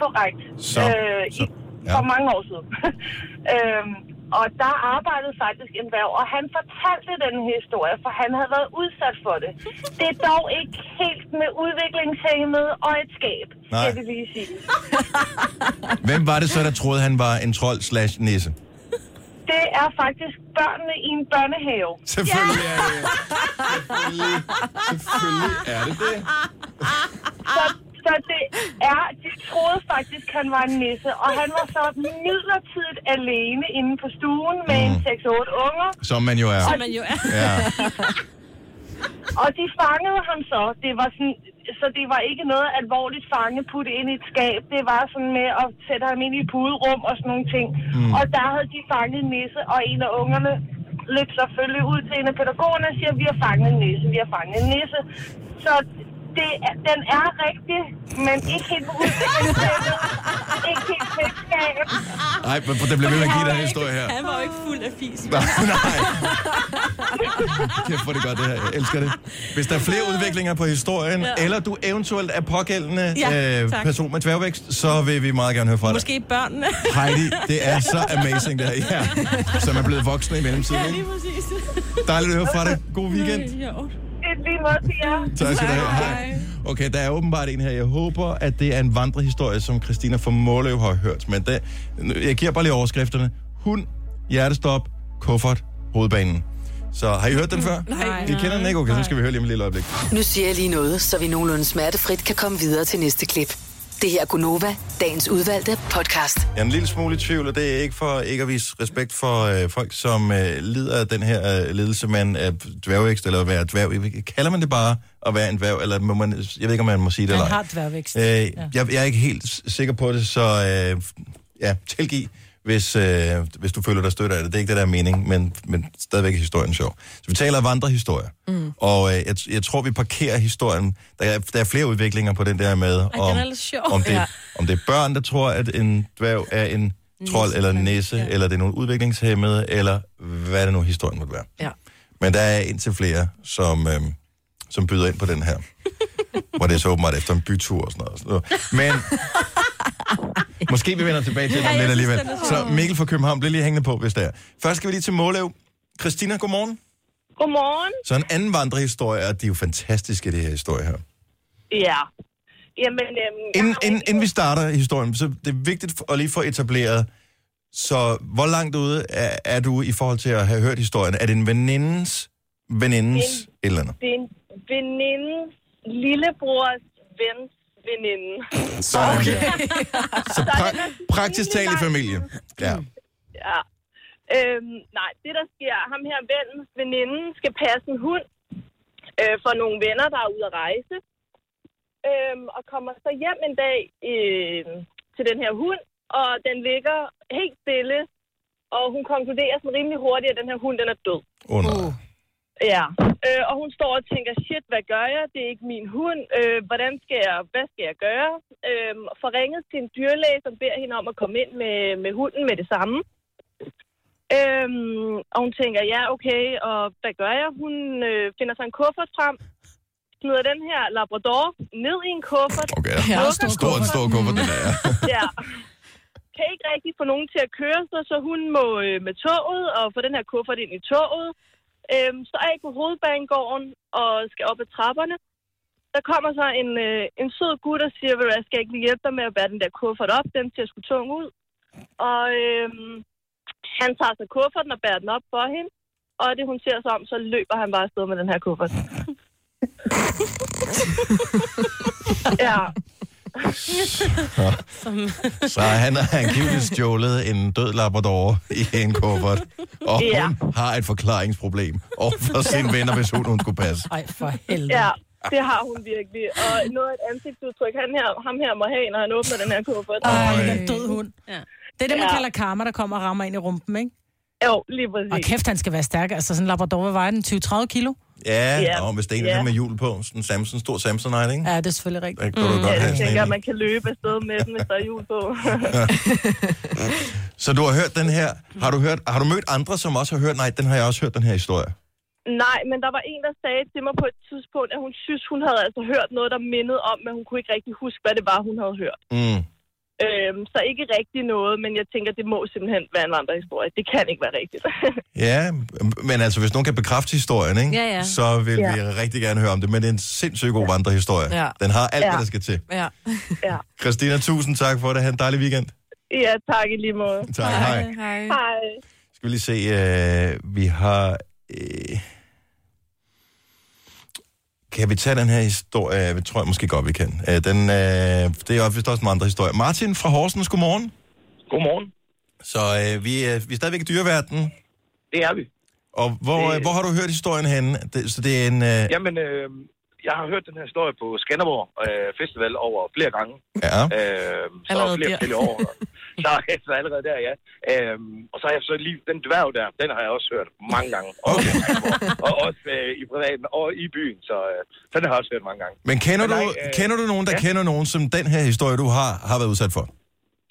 S11: korrekt.
S1: Så-
S11: øh,
S1: så-
S11: i,
S1: ja.
S11: For mange år siden. øhm, og der arbejdede faktisk en værv, og han fortalte den historie, for han havde været udsat for det. Det er dog ikke helt med udviklingshæmmet og et skab,
S1: Nej.
S11: skal vi lige sige.
S1: Hvem var det så, der troede, han var en trold slash nisse?
S11: Det er faktisk børnene i en børnehave.
S1: Selvfølgelig er det. Selvfølgelig, selvfølgelig er det det.
S11: Så, så det er, de troede faktisk, han var en nisse, og han var så midlertidigt alene inde på stuen med en
S1: Mm.
S11: 6-8 unger.
S1: Som man jo er.
S3: Som man jo er.
S1: Ja.
S11: Og de fangede ham så. Det var sådan, så det var ikke noget alvorligt fange putte ind i et skab. Det var sådan med at sætte ham ind i et puderum og sådan nogle ting. Mm. Og der havde de fanget en nisse, og en af ungerne løb selvfølgelig ud til en af pædagogerne og siger, vi har fanget en nisse, vi har fanget en nisse. Så det, er- den er rigtig, men ikke helt på udviklingsstedet. ikke helt med et skab.
S1: Nej, men det bliver ved med at give den her historie her.
S3: Han var jo ikke fuld af fis.
S1: Nej, nej. Kæft, hvor er det godt, det her. Jeg elsker det. Hvis der er flere udviklinger på historien, ja. eller du eventuelt er pågældende
S3: Ja,
S1: øh,
S3: tak.
S1: person med dværgvækst, så vil vi meget gerne høre fra dig.
S3: Måske børnene.
S1: Heidi, det er så amazing det her. Ja. Som er blevet voksne i mellemtiden.
S3: Ja, lige
S1: ikke?
S3: præcis.
S1: Dejligt at høre fra dig. God weekend.
S11: Det er lige noget til jer.
S1: Tak skal du have. Hej. Okay, der er åbenbart en her. Jeg håber, at det er en vandrehistorie, som Christina fra Måløv har hørt. Men det, jeg giver bare lige overskrifterne. Hund, hjertestop, kuffert, hovedbanen. Så har I hørt den før? Mm, Nej. I kender den ikke? Okay, så skal vi høre lige om et lille øjeblik.
S5: Nu siger jeg lige noget, så vi nogenlunde smertefrit kan komme videre til næste klip. Det her er Gunova, dagens udvalgte podcast.
S1: Jeg er en lille smule i tvivl, og det er ikke for ikke at vise respekt for øh, folk, som øh, lider af den her øh, lidelse, man er dværgvækst, eller at være dværg. Kalder man det bare at være en dværg, eller må man, jeg ved ikke, om man må sige det eller
S12: Han
S1: ej.
S12: har dværgvækst.
S1: Øh, jeg, jeg er ikke helt s- sikker på det, så øh, ja, tilgiv, hvis, øh, hvis du føler dig stødt af det. Det er ikke det, der er mening, men, men stadigvæk er historien sjov. Så vi taler af vandrehistorier. Mm. Og øh, jeg, jeg tror, vi parkerer historien. Der er, der er flere udviklinger på den der med,
S3: Ej,
S1: om,
S3: den er lidt sjov.
S1: om, det,
S3: Ja.
S1: om det er børn, der tror, at en dværg er en trold eller en næse, ja. eller det er nogle udviklingshemmede, eller hvad det nu historien måtte være.
S2: Ja.
S1: Men der er indtil flere, som, øh, som byder ind på den her. Hvor det er så åbenbart efter en bytur og sådan noget. og sådan noget. Men måske vi vender tilbage til
S14: Ja,
S1: den
S14: jeg synes,
S1: lidt alligevel.
S14: den er
S1: Så
S14: sjov.
S1: Mikkel fra København, bliver lige hængende på, hvis det er. Først skal vi lige til Målev. Christina, godmorgen.
S8: Godmorgen.
S1: Så en anden vandrehistorie, og de er jo fantastiske, det her historie her.
S8: Ja. Jamen, øhm,
S1: Inden, inden, inden vi starter historien, så det er vigtigt at lige få etableret, så hvor langt ude er, er du i forhold til at have hørt historien? Er det en venindens, venindens
S8: En-
S1: et eller andet?
S8: det er en venindes lillebrors vens veninde.
S1: Sådan. Okay. Så
S8: den er
S1: pra- praktisk talt i familie. Ja.
S8: Ja. Øhm, nej, det der sker, ham her vennens veninde skal passe en hund øh, for nogle venner, der er ude at rejse. Øhm, og kommer så hjem en dag øh, til den her hund, og den ligger helt stille. Og hun konkluderer sådan rimelig hurtigt, at den her hund den er død.
S1: Åh, oh, nej.
S8: Ja, øh, og hun står og tænker, shit, hvad gør jeg? Det er ikke min hund. Øh, hvordan skal jeg, hvad skal jeg gøre? Øh, får ringet til en dyrlæge, som beder hende om at komme ind med, med hunden med det samme. Øh, og hun tænker, ja, okay, og hvad gør jeg? Hun øh, finder sig en kuffert frem, smider den her Labrador ned i en kuffert.
S1: Okay,
S8: ja,
S1: Stor, en stor kuffert, den er.
S8: ja. Kan ikke rigtig få nogen til at køre sig, så hun må øh, med toget og få den her kuffert ind i toget. Øhm, så er jeg på hovedbanegården og skal op ad trapperne. Der kommer så en, øh, en sød gut og siger, at jeg skal ikke lige hjælpe dig med at bære den der kuffert op. Den ser sgu tung ud. Og øhm, han tager så kufferten og bærer den op for hende. Og det hun ser sig om, så løber han bare afsted med den her kuffert. ja.
S1: Så han har angiveligt stjålet en død labrador i en kuffert, og hun
S8: Ja.
S1: har et forklaringsproblem overfor sine venner, hvis hun, hun skulle passe.
S8: Ej, for helvede. Ja, det har hun virkelig. Og noget af et ansigtsudtryk, han her, ham her må have, når han åbner den her kuffert.
S4: Ej, den er død hund.
S3: Ja.
S4: Det er det, man
S8: Ja.
S4: kalder karma, der kommer og rammer ind i rumpen, ikke?
S8: Jo, lige præcis.
S4: Og kæft, han skal være stærk. Altså, sådan en labrador, hvad vejer den? 20-30 kilo?
S1: Ja,
S4: Ja.
S1: og hvis det er en
S4: Ja.
S1: yeah. med hjul på, sådan en Samson, stor Samsonite, ikke?
S4: Ja, det er selvfølgelig
S1: Der
S4: rigtigt.
S1: kan du Mm. godt have
S8: Ja, jeg
S1: sådan
S8: tænker,
S1: en.
S8: at man kan løbe afsted med den, hvis der er hjul på.
S1: Så du har hørt den her. Har du, hørt, har du mødt andre, som også har hørt, nej, den har jeg også hørt, den her historie?
S8: Nej, men der var en, der sagde til mig på et tidspunkt, at hun synes, hun havde altså hørt noget, der mindede om, men hun kunne ikke rigtig huske, hvad det var, hun havde hørt.
S1: Mm.
S8: Øhm, så ikke rigtig noget, men jeg tænker, det må simpelthen være en vandrehistorie. Det kan ikke være rigtigt.
S1: Ja, men altså, hvis nogen kan bekræfte historien, ikke?
S8: Ja, ja.
S1: så vil
S8: Ja.
S1: vi rigtig gerne høre om det. Men det er en sindssygt god vandrehistorie.
S8: Ja.
S1: Den har alt,
S8: Ja.
S1: hvad der skal til.
S2: Ja.
S8: ja.
S1: Christina, tusind tak for det. Ha' en dejlig weekend.
S8: ja, tak i lige måde.
S1: Tak, hej.
S2: Hej.
S8: Hej.
S1: Skal vi lige se, øh, vi har... Øh, kan vi tage den her historie? Jeg tror jeg måske godt, vi kan. Øh, den, øh, det er jo vist også en andre historie. Martin fra Horsens, godmorgen.
S13: Godmorgen.
S1: Så øh, vi, er, vi er stadigvæk i dyreverdenen.
S13: Det er vi.
S1: Og hvor, øh, hvor har du hørt historien henne? Det, så det er en... Øh,
S13: Jamen, øh, jeg har hørt den her historie på Skanderborg øh, Festival over flere gange.
S1: Ja.
S13: Øh, så
S1: Allerede
S13: allerede flere
S1: der.
S13: forskellige år. så, så allerede der, ja. Øh, og så har jeg så lige den dværg der, den har jeg også hørt mange gange. Okay. Og, og også øh, i privaten og i byen, så øh, den har jeg også hørt mange gange.
S1: men kender du,
S13: nej, øh,
S1: kender du nogen, der ja. kender nogen, som den her historie, du har, har været udsat for?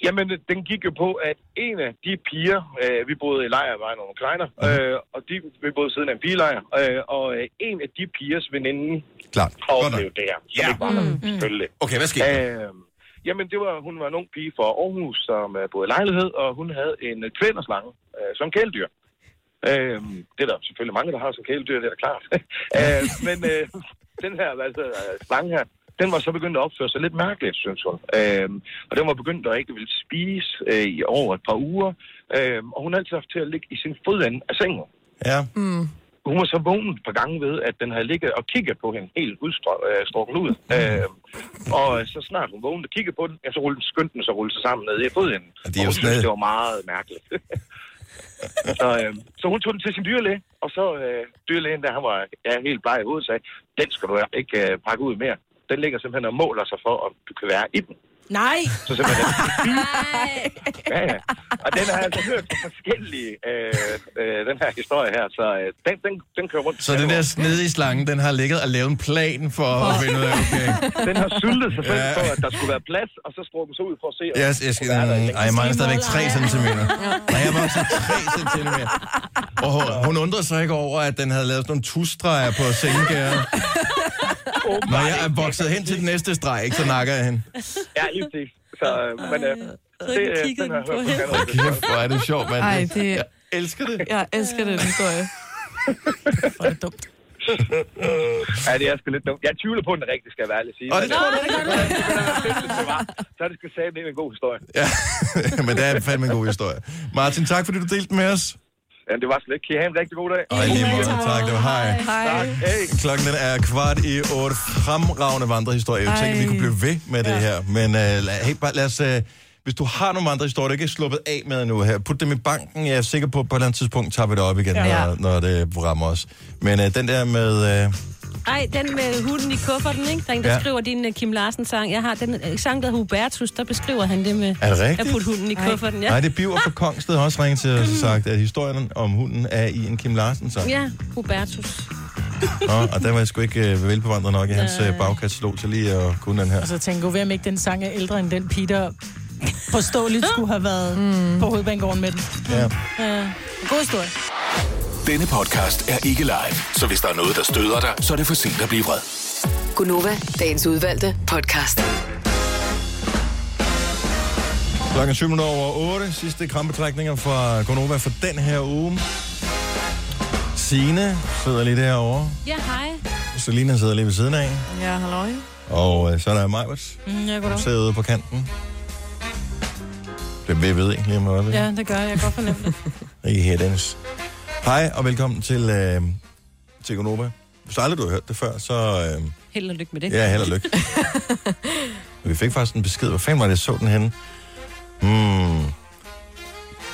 S13: Jamen, den gik jo på, at en af de piger, øh, vi boede i lejrvejen nogle kleiner,
S1: Mhm.
S13: øh, og de, vi boede siden af en pigelejr, øh, og øh, en af de pigers veninde
S1: Klart.
S13: oplevede det her, som ja. ikke var der,
S1: Mm.
S13: selvfølgelig.
S1: Okay, hvad skete der?
S13: øh, Jamen, det var, hun var en ung pige fra Aarhus, som øh, boede i lejlighed, og hun havde en øh, kvælerslange øh, som kæledyr. Øh, det er der selvfølgelig mange, der har som kæledyr, det er da klart. øh, men øh, den her altså, øh, slange her, den var så begyndt at opføre sig lidt mærkeligt, synes hun. Øh, og den var begyndt at ikke ville spise øh, i over et par uger. Øh, og hun har altid haft til at ligge i sin fodende af sengen.
S1: Ja.
S2: Mm.
S13: Hun var så vågnet et par gange ved, at den havde ligget og kigget på hende helt udstrukken ud.
S1: Mm.
S13: Øh, og så snart hun vågnede og kiggede på den, ja, så rullede den skyndte den så rullede sig sammen ned i fodenden.
S1: Og det
S13: Og
S1: er jo
S13: hun syntes,
S1: stadig-
S13: det var meget mærkeligt. så, øh, så hun tog den til sin dyrlæge, og så øh, dyrlægen, der han var ja, helt bleg i hovedet, sagde, den skal du ikke øh, pakke ud mere. Den ligger simpelthen og måler sig for, om du kan være i den.
S4: Nej.
S13: Så simpelthen... ja, ja. Og den har jeg altså hørt på forskellige, øh, øh, den her historie her, så øh, den, den, den kører rundt.
S1: Så den der snedige slange, den har ligget og lavet en plan for at finde ud af, okay.
S13: Den har syltet sig selv på, at der skulle være plads, og så strå den så ud for at se... om-
S1: Jeg, jeg skal, ej, jeg mangler stadigvæk 3 cm. Nej, jeg mangler 3 cm. Og hun, hun undrede sig ikke over, at den havde lavet sådan nogle tusstreger på sengegæren. Når jeg er vokset hen til den næste streg, ikke, så nakker jeg hende.
S13: Ja, lige præcis. Så, øh, men... Øh, det, øh, den har jeg hørt på forskellige.
S1: Kæft, hvor er det sjovt, mand.
S2: Ej, det... Jeg
S1: elsker det.
S2: Jeg elsker den historie.
S13: ja, det er sgu lidt dumt. Jeg tvivler på, at den rigtig skal være ærlig at sige.
S1: Og det tror
S13: du ikke. Så er det sgu sagde, det er en god historie.
S1: Ja, men det er fandme en god historie. Martin, tak fordi du delte den med os.
S13: Ja, det var slet ikke. Kan I have en rigtig god dag?
S1: Og i lige måde, tak. Det var hej.
S13: Tak. Hey.
S1: Klokken den er kvart i otte. Fremragende vandrehistorie. Jeg tænkte, vi kunne blive ved med det her. Men uh, lad, hey, bare, lad os, uh, hvis du har nogle vandrehistorier, du ikke er sluppet af med endnu her, put dem i banken. Jeg er sikker på, at på et eller andet tidspunkt tager vi det op igen,
S3: Ja.
S1: ja. når, når det rammer os. Men uh, den der med... Uh,
S3: Ej, den med hunden i kufferten, ikke? Der er en, der
S1: Ja.
S3: ja. skriver din uh, Kim Larsen-sang. Jeg har den uh, sang, der hedder Hubertus, der beskriver han det med
S1: Er det rigtigt?
S3: at putte hunden i kufferten.
S1: Ja. Nej, det er Biver fra Kongsted har også ringet til os og sagt, at historien om hunden er i en Kim Larsen-sang.
S3: Ja, Hubertus.
S1: Nå, og der var jeg sgu ikke øh, velbevandret nok i hans øh, bagkatalog til lige at kunne den her.
S4: Og så tænker jeg, om ikke den sang er ældre end den pige, der forståeligt skulle have været mm. på hovedbanegården med den.
S1: Ja.
S4: Uh, god historie.
S6: Denne podcast er ikke live, så hvis der er noget, der støder dig, så er det for sent at blive vred.
S5: Gunova, dagens udvalgte podcast.
S1: Klokken 7 minutter over 8. Sidste krampetrækninger fra Gonova for den her uge. Sine sidder lige derovre.
S3: Ja, hej.
S1: Selina sidder lige ved siden af.
S2: Ja, halløj.
S1: Og øh, så er der Majbert,
S4: Mm, jeg
S1: som sidder ude på kanten. Det vil jeg ved ikke lige om noget.
S4: Ja, det gør jeg. Jeg kan godt fornemme det.
S1: Ikke her, Dennis. Hej, og velkommen til, øh, til Gonova. Hvis aldrig du har hørt det før, så... Øh,
S3: Held og lykke med det.
S1: Ja, held og lykke. Og vi fik faktisk en besked. Hvor fanden var det, jeg så den henne? Hmm.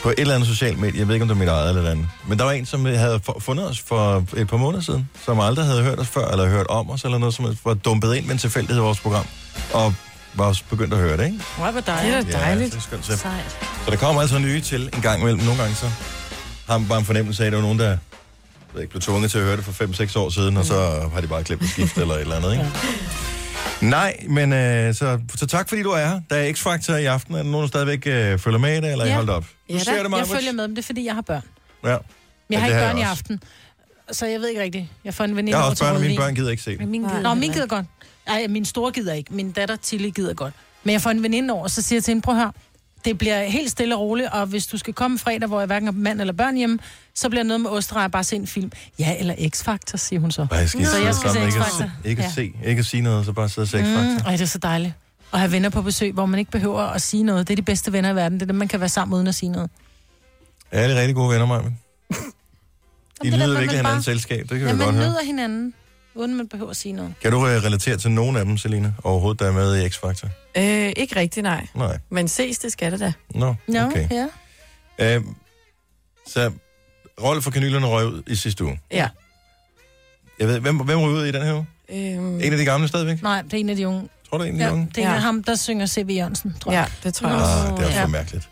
S1: På et eller andet socialt medie. Jeg ved ikke, om det var mit eget eller et andet. Men der var en, som havde fu- fundet os for et par måneder siden, som aldrig havde hørt os før, eller hørt om os, eller noget som helst, var dumpet ind med en tilfældighed i vores program, og var også begyndt at høre det, ikke?
S4: Hvor var
S2: Det
S4: dejligt.
S2: er da dejligt.
S1: Ja, det er skønt, så. Så der kommer altså nye til en gang imellem. Nogle gange så har man bare en fornemmelse af, at der var nogen, der jeg ved ikke, blev tvunget til at høre det for 5-6 år siden, og så har de bare glemt at skifte eller et eller andet, ikke? Nej, men øh, så, så tak fordi du er her. Der er X-Factor i aften. Er der nogen, der stadigvæk øh, følger med i det, eller ja.
S4: Ja.
S1: holdt op?
S4: Ja,
S1: Du ser det,
S4: da. jeg
S1: Maj-Brit?
S4: følger med dem, det er fordi, jeg har børn.
S1: Ja.
S4: Men jeg har
S1: det
S4: ikke
S1: har
S4: børn i
S1: jeg også.
S4: aften, så jeg ved ikke rigtigt. Jeg får en veninde
S1: Jeg har
S4: over
S1: også
S4: til
S1: børn, og mine
S4: rødvin.
S1: børn gider ikke se det.
S3: Min
S4: Nå, min gider godt. Ej, min store gider ikke. Min datter Tilly gider godt. Men jeg får en veninde over, og så siger jeg til hende, prøv her. Det bliver helt stille og roligt, og hvis du skal komme fredag, hvor jeg hverken har mand eller børn hjemme, så bliver noget med ostrejer bare se en film. Ja, eller X-Factor, siger hun så.
S1: Ej, jeg skal
S4: så
S1: sidde
S4: jeg skal se
S1: sammen, ikke, at
S4: X-Factor.
S1: se, ikke, at se, ikke at sige noget, så bare sidde og se X-Factor.
S4: Mm, ej, det er så dejligt. Og have venner på besøg, hvor man ikke behøver at sige noget. Det er de bedste venner i verden. Det er dem, man kan være sammen uden at sige noget.
S1: Ja, det er rigtig gode venner, Maja. I
S4: Mm. det er derfor,
S1: nyder
S4: man
S1: virkelig hinandens
S4: bare-
S1: selskab, det kan
S4: Ja,
S1: vi
S4: man
S1: godt høre.
S4: nyder hinanden, uden man behøver at sige noget.
S1: Kan du øh, relatere til nogen af dem, Selina, overhovedet, der er med i X-Factor?
S2: Øh, ikke rigtig, nej.
S1: Nej.
S2: Men ses, det skal det da.
S1: Nå,
S4: Nå,
S1: okay.
S4: ja.
S1: Øh, så Rolf for kanylerne røg ud i sidste uge.
S2: Ja.
S1: Jeg ved, hvem, hvem røg ud i den her uge?
S2: Øhm,
S1: En af de gamle stadigvæk?
S4: Nej, det er en af de unge.
S1: Tror du, det er en af
S4: Ja,
S1: de unge?
S4: det er en af ham, der synger C.V. Jørgensen, tror jeg.
S2: Ja, det tror jeg
S1: Ah, det er for
S4: Ja.
S1: mærkeligt.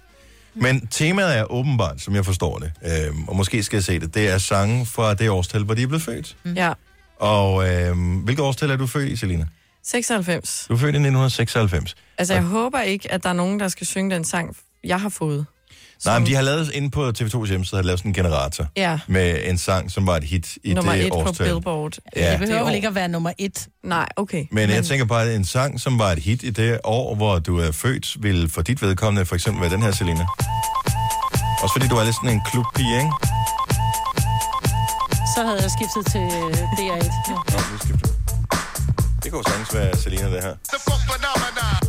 S1: Men temaet er åbenbart, som jeg forstår det, øhm, og måske skal jeg se det, det er sange fra det årstal, hvor de er blevet født.
S2: Mm. Ja.
S1: Og øhm, hvilket årstal er du født i, Selina?
S2: 96.
S1: Du er født i 1996.
S2: Altså, jeg håber ikke, at der er nogen, der skal synge den sang, jeg har fået.
S1: Nej, men de har lavet, inde på TV2's hjemmeside, har de lavet sådan en generator
S2: Ja.
S1: med en sang, som var et hit i
S2: nummer
S1: det
S2: et
S1: årstal.
S2: på Billboard.
S1: Ja.
S4: Det behøver vel ikke at være nummer et.
S2: Nej, okay.
S1: Men jeg tænker bare, at en sang, som var et hit i det år, hvor du er født, vil for dit vedkommende for eksempel være den her, Selina. Også fordi du er lidt sådan en klubpige, ikke?
S4: Så havde jeg skiftet til øh, DR1. Ja.
S1: Nå, nu skifter vi. Det kunne jo sagtens være Selina, det her.
S12: The funk phenomenon.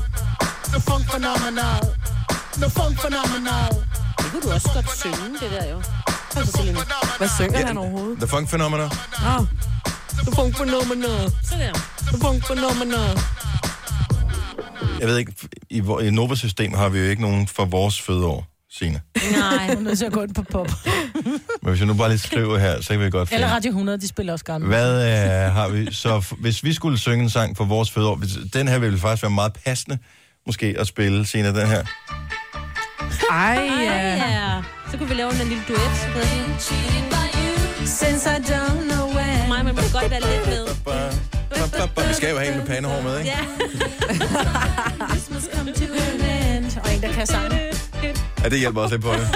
S12: The funk phenomenon. The funk phenomenon.
S3: Det kunne du også godt synge, det der jo. Kom så, Selina.
S2: Hvad synger
S1: Ja.
S2: han overhovedet?
S1: The Funk Phenomena.
S2: Nå. The funk phenomenon.
S3: Sådan.
S2: The funk phenomenon.
S1: Jeg ved ikke, i, vor- i Nova-system har vi jo ikke nogen for vores fødeår, Signe.
S4: Nej, hun er nødt til at gå ind på pop.
S1: Men hvis jeg nu bare lige skriver her, så kan vi godt finde.
S4: Eller Radio 100, de spiller også gamle.
S1: Hvad øh, har vi? Så f- hvis vi skulle synge en sang for vores fødeår, hvis, den her ville faktisk være meget passende, måske at spille senere den her.
S2: Ej,
S3: ja. ja. Så kunne vi lave en lille duet. Så ved jeg. Since I don't know when. Mig, man må godt være lidt med.
S1: Vi skal jo have en med pandehår med, ikke?
S3: Ja. Christmas come to an end. Og en, der kan sange.
S1: Ja, det hjælper også lidt på det.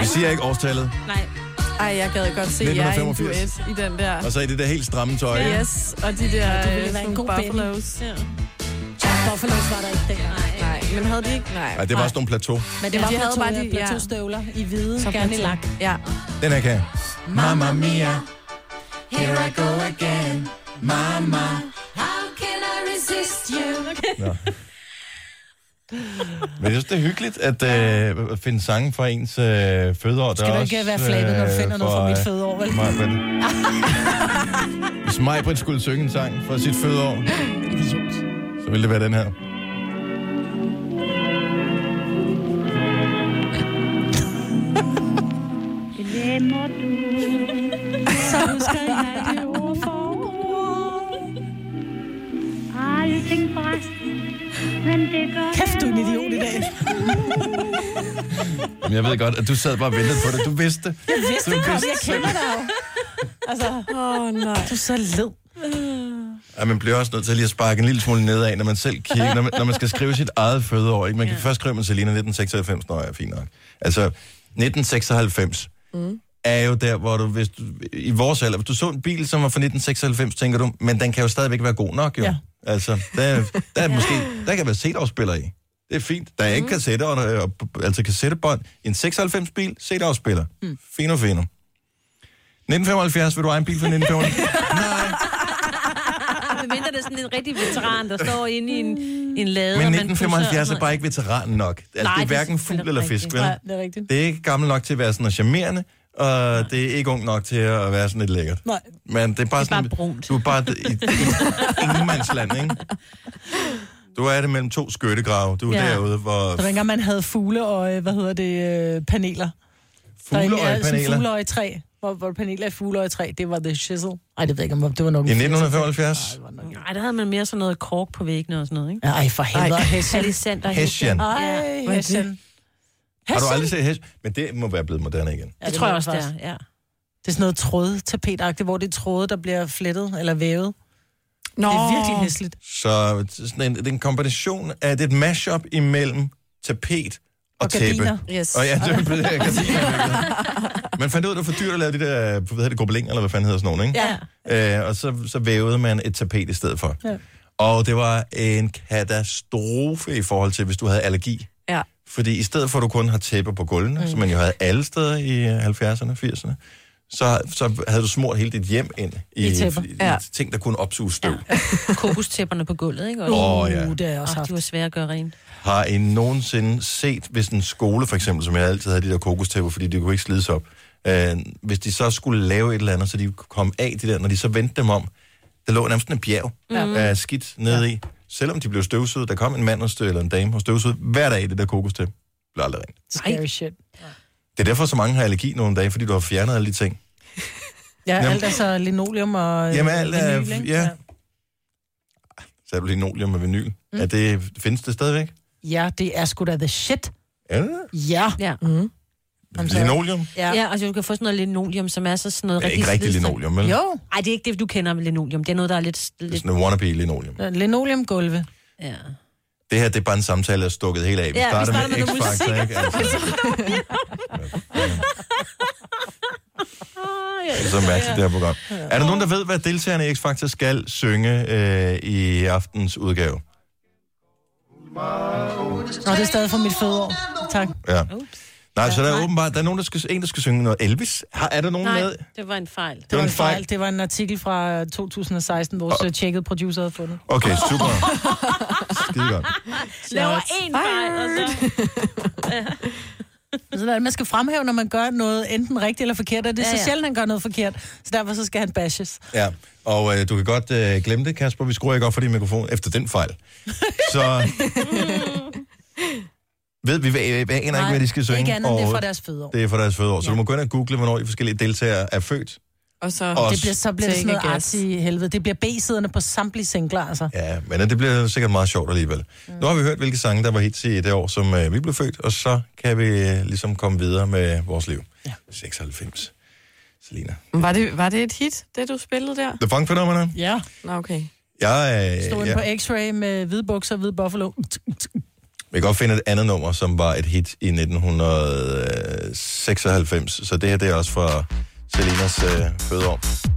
S1: Vi siger ikke årstallet.
S3: Nej.
S2: Ej, jeg gad godt se jer i en
S1: 1985.
S2: duet i den der.
S1: Og så i det der helt stramme tøj. ikke?
S2: Yes, og de der
S3: Ja, du
S2: øh,
S3: ville være en
S2: sådan
S3: god
S2: buffalos. Ja.
S3: Buffalos var der ikke dengang.
S2: Nej, men havde de ikke? Nej.
S1: Ej, det var også nogle plateau.
S3: Men det var
S2: de
S3: ja,
S2: havde
S3: plateau,
S2: bare
S3: bare
S2: de-
S3: de, ja. plateaustøvler i hvide, så gerne i lak.
S2: Ja.
S1: Den her kan jeg. Mamma mia.
S15: Here I go again, mama.
S3: How can I resist you?
S1: Nå. Men jeg synes, det er hyggeligt at øh, at finde sange fra ens øh, fødeår.
S4: Skal du ikke være flabet, når
S1: øh,
S4: du finder noget fra mit fødeår, vel?
S1: vel? Hvis Majbrit skulle synge en sang fra sit fødeår,
S4: Idiot.
S1: så ville det være den her.
S15: Glemmer du, så husker jeg det ord for ord. Alting forresten, men det gør
S4: Kæft, du er en idiot i dag.
S1: Men jeg ved godt, at du sad bare og ventede på det. Du vidste.
S4: Jeg vidste,
S1: Du
S4: det kom. Jeg
S1: vidste
S4: kender dig jo. Altså,
S2: åh oh, nej.
S4: Du er så led.
S1: Ja, man bliver også nødt til lige at sparke en lille smule nedad, når man selv kigger, når man, når man skal skrive sit eget fødeår. Ikke? Man kan ja. først skrive, man Selina 1996, når jeg er fint nok. Altså, 1996
S15: Mm.
S1: er jo der, hvor du, hvis du, i vores alder, hvis du så en bil, som var fra 1996, tænker du, men den kan jo stadigvæk være god nok, jo. Ja. Altså, der, der, er måske, der kan være CD-afspiller i. Det er fint. Der er ikke kassetter, og, og, altså kassettebånd. I en 96-bil, CD-afspiller. Mm. Fino, fino. 1975, vil du eje en bil fra 1975?
S3: Ah, Men mindre det er sådan en rigtig veteran, der står inde i en, i en lade.
S1: Men
S3: og man
S1: 1975
S3: pusser-
S1: er bare ikke veteran nok. Altså,
S3: Nej,
S1: Nej, det er
S3: det er
S1: hverken fugl eller fisk, vel?
S4: Nej, det er rigtigt.
S1: Det er ikke gammel nok til at være sådan noget charmerende, og det er ikke ung nok til at være sådan lidt lækkert.
S4: Nej.
S1: Men det er bare sådan... Du er bare i, i ingenmandsland, ikke? Du er det mellem to skyttegrave. Du er
S4: Ja.
S1: ja. derude, hvor...
S4: Så dengang man havde fugleøje, hvad hedder det, øh, paneler. Der egentlig er sådan
S1: Fugleøjepaneler.
S4: Fugleøje 3, hvor, hvor paneler er fugleøje 3, det var the shizzle. Ej, det ved jeg ikke, om det var nok...
S1: I 1975?
S3: Nej, der havde man mere sådan noget kork på væggene og sådan noget, ikke?
S4: Ej, for helvede. Hessian.
S3: Hessian.
S1: Hessian.
S4: Ej, Hessian.
S1: Har du aldrig set hest? Men det må være blevet moderne igen.
S4: Ja,
S3: Det tror jeg
S4: må
S3: også, det er,
S4: faktisk.
S3: ja.
S4: Det er sådan noget tråd tapetagtigt, hvor det er tråde, der bliver flettet eller vævet.
S2: Nå.
S4: Det er virkelig hæsligt.
S1: Så sådan en, det er en kombination af... Det er et mashup imellem tapet og,
S4: Og
S1: tæppe.
S4: gardiner.
S2: Yes.
S1: Og ja, det er det Man fandt ud af, at det var for dyrt at lave de der, hvad hedder det, gobelinger, eller hvad fanden hedder sådan nogle, ikke? Ja. Øh, og så, så vævede man et tapet i stedet for.
S4: Ja.
S1: Og det var en katastrofe i forhold til, hvis du havde allergi.
S2: Ja.
S1: Fordi i stedet for, at du kun har tæpper på gulvene, mm. som man jo havde alle steder i øh, 70'erne og 80'erne, så, så havde du smurt hele dit hjem ind i,
S3: I tæpper.
S1: i
S3: Ja.
S1: ting, der kunne opsuge støv. Ja.
S3: Kokostæpperne på gulvet, ikke?
S1: Åh, Uh, ja.
S4: det er også
S3: haft. de var svære at gøre rent.
S1: Har I nogensinde set, hvis en skole for eksempel, som jeg altid havde de der kokostæpper, fordi de kunne ikke slides op, øh, hvis de så skulle lave et eller andet, så de kom af de der, når de så vendte dem om, der lå nærmest en bjerg
S15: Ja.
S1: af skidt nede i. Selvom de blev støvsuget, der kom en mand og støv, eller en dame og støvsuget hver dag i det der kokostæppe. Blev aldrig rent.
S4: Scary shit.
S1: Det er derfor, så mange har allergi nogle dage, fordi du har fjernet alle de ting.
S4: Ja,
S1: Jamen.
S4: alt er så linoleum og... øh,
S1: Jamen alt er...
S4: vinyl, ikke?
S1: Ja. Så er du lige nolium med vinyl. Mm. Er det, findes det stadigvæk?
S4: Ja, det er sgu da the shit.
S1: Er det det?
S4: Ja.
S3: Ja.
S4: Mm.
S1: Linoleum?
S3: Ja. ja, og så du kan få sådan noget linoleum, som er så sådan noget
S1: Det er ikke rigtig
S3: slidstærkt.
S1: linoleum, vel?
S4: Jo.
S3: Ej, det er ikke det, du kender med linoleum. Det er noget, der er lidt... lidt...
S1: Sådan en wannabe linoleum.
S4: Linoleumgulve.
S3: Ja.
S1: Det her, det er bare en samtale, der er stukket helt af. Vi,
S3: Ja,
S1: starter,
S3: vi starter
S1: med,
S3: med
S1: med
S3: noget
S1: X-Factor,
S3: musik.
S1: ikke? Altså, det er så mærkeligt, det her program. Er der nogen, der ved, hvad deltagerne i X-Factor skal synge øh, i aftens udgave?
S4: Nå, det er stadig for mit fødeår. Tak.
S1: Ja. Nej, så der er åbenbart der er nogen, der skal, en, der skal synge noget Elvis. Har, er der nogen
S4: Nej.
S1: med?
S3: Det var en fejl.
S4: Det var en fejl. Det var en artikel fra 2016, vores oh. tjekket producer havde fundet.
S1: Okay, super. Skide godt.
S3: Laver en fejl, og så...
S4: Sådan er det. Man skal fremhæve, når man gør noget enten rigtigt eller forkert, og det er så
S3: Ja, ja.
S4: sjældent, han gør noget forkert. Så derfor så skal han bashes.
S1: Ja, og øh, du kan godt øh, glemme det, Kasper. Vi skruer ikke op for din mikrofon efter den fejl. Så... ved vi, hvad, øh, hvad, aner ikke, hvad de skal synge?
S4: Ikke andet, end det er fra
S1: overhovedet.
S4: deres fødeår.
S1: Det er for deres fødeår. Så ja. du må gå ind og google, hvornår de forskellige deltagere er født.
S2: Og Og så,
S1: Også.
S4: Det bliver, så bliver det sådan
S2: Take a
S4: noget
S2: guess.
S4: artsy i helvede. Det bliver B-siderne på samtlige singler, altså.
S1: Ja, men øh, det bliver sikkert meget sjovt alligevel. Mm. Nu har vi hørt, hvilke sange, der var hits i det år, som øh, vi blev født, og så kan vi øh, ligesom komme videre med vores liv. Ja. 96. Selina.
S2: Var det, var det et hit, det du spillede der?
S1: The Funk Phenomenon?
S4: Ja.
S2: Nå, okay.
S1: Jeg, øh,
S4: Stod
S1: jeg,
S4: ja. på X-Ray med hvide bukser og hvide buffalo.
S1: jeg kan godt finde et andet nummer, som var et hit i 1996, så det her det er også fra Selinas øh, fødeår.
S2: Det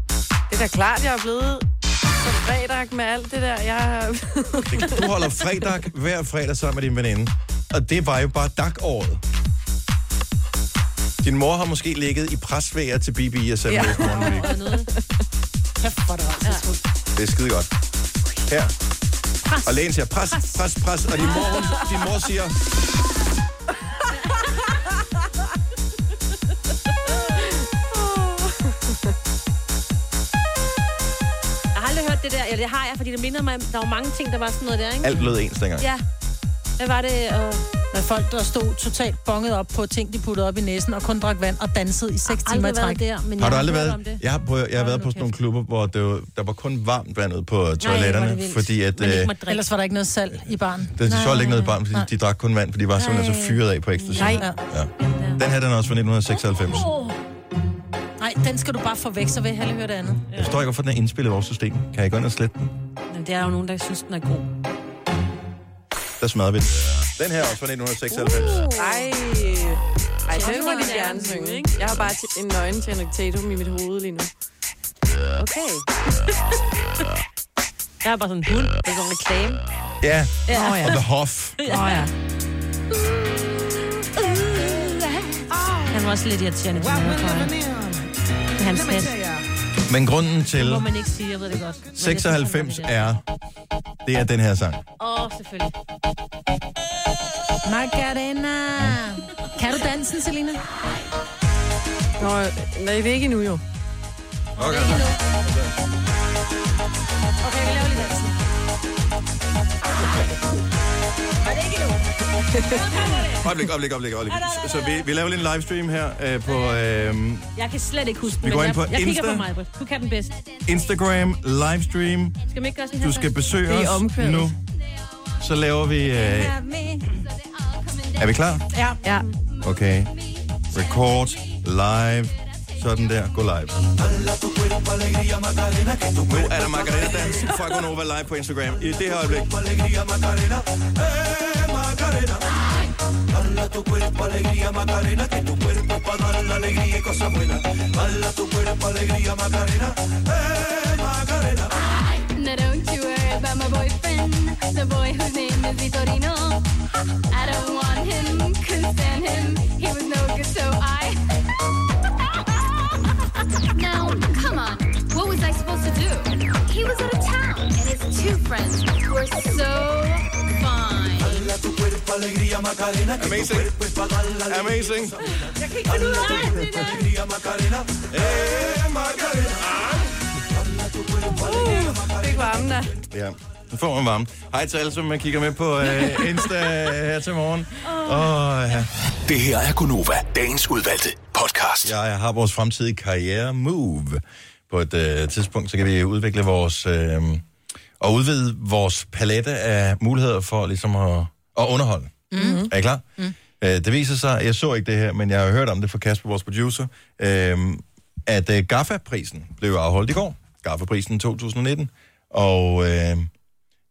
S2: er da klart, jeg er blevet så fredag med alt det der. Jeg har...
S1: Du holder fredag hver fredag sammen med din veninde. Og det var jo bare dag-året. Din mor har måske ligget i presvæger til BB og sms ja.
S4: Kæft, hvor er det rart.
S1: Det er skide godt. Her. Pres. Og lægen siger, pres, pres, pres. Og din mor, hun, din mor siger...
S3: Jeg har aldrig hørt det der. Eller det har jeg, fordi det minder mig om, der var mange ting, der var sådan noget der, ikke?
S1: Alt lød ens dengang.
S3: Ja. Hvad var det? Og...
S4: Med folk, der stod totalt bonget op på ting, de puttede op i næsen, og kun drak vand og dansede i 6 timer i
S3: aldrig
S4: træk.
S3: været der, men
S1: Har du
S3: jeg
S1: aldrig
S3: hørt
S1: været...
S3: om det.
S1: Jeg har, prøvet, jeg har været på sådan nogle klubber, hvor det var, der var kun varmt vandet på
S4: hvor er
S1: toiletterne,
S4: det vildt.
S1: fordi at... Øh,
S4: Ellers var der ikke noget salt i baren.
S1: der, de solgte ikke noget barn, fordi de drak kun vand, fordi de var simpelthen så fyret af på ecstasy.
S4: Nej.
S1: Ja. Den her, den er også fra 1996.
S4: Oh. Nej, den skal du bare få væk, så vil jeg hellere høre det andet.
S1: Jeg forstår ikke, hvorfor den er indspillet i vores system. Kan jeg gå ind og slette den?
S3: Men der er jo nogen, der synes, den er god.
S1: Der smadrer vi den. Den her er også fra 1996.
S2: Ej. Ej, det må de gerne synge. Jeg har bare t- en nøgen til Henrik Tatum i mit hoved lige nu.
S3: Okay. jeg er bare sådan en hund. Det er sådan en reklame.
S1: Ja,
S3: Ja. Nå, ja.
S1: og The Hoff.
S3: Åh oh, ja. Han var også lidt irriterende, hvis man hørte på ham. Det er hans net.
S1: Men grunden
S3: Det
S1: til
S3: må man ikke sige, jeg ved det godt. Men jeg synes, han var
S1: 96
S3: lidt irriterende.
S1: er, det er den her sang.
S3: Åh, oh, selvfølgelig.
S4: Margarena. Kan du dansen, Selina?
S2: Nå, nej, det er ikke endnu jo.
S1: Okay.
S3: Okay, vi laver lige dansen. Var det ikke
S1: Øjeblik,
S3: nu?
S1: øjeblik, øjeblik, øjeblik. Så vi, vi laver lige en livestream her øh, på øh,
S3: Jeg kan slet ikke huske den,
S1: Vi går
S3: men
S1: ind på
S3: jeg, jeg kigger
S1: Insta.
S3: på mig, Britt. Du kan den bedst.
S1: Instagram livestream.
S3: Skal man ikke gøre sådan her?
S1: Du skal
S3: først?
S1: besøge
S2: Det er
S1: os
S2: omkvædet.
S1: nu. Så laver vi... Øh, er vi klar?
S4: Ja.
S2: Ja.
S1: Okay. Record live. Sådan der. Gå live. Nu er der Margarina Dans fra Gonova live på Instagram. I det her øjeblik.
S12: No, don't you worry about my boyfriend, the boy whose name is Vitorino. I don't want him, couldn't stand him. He was no good, so I. now, come on, what was I supposed to do? He was out of town, and his two friends were so fine.
S1: Amazing. Amazing.
S2: Uh, fik varmen der.
S1: Ja, nu får man varme. Hej til alle, som man kigger med på øh, Insta her til morgen. Og ja.
S6: Det her er Gunova, dagens udvalgte podcast.
S1: jeg har vores fremtidige karriere move. På et øh, tidspunkt, så kan vi udvikle vores... Øh, og udvide vores palette af muligheder for ligesom at, at underholde. Mm-hmm. Er I klar? Mm. Øh, det viser sig, jeg så ikke det her, men jeg har hørt om det fra Kasper, vores producer, øh, at øh, GAFA-prisen blev afholdt i går. GAFA-prisen 2019. Og øh, det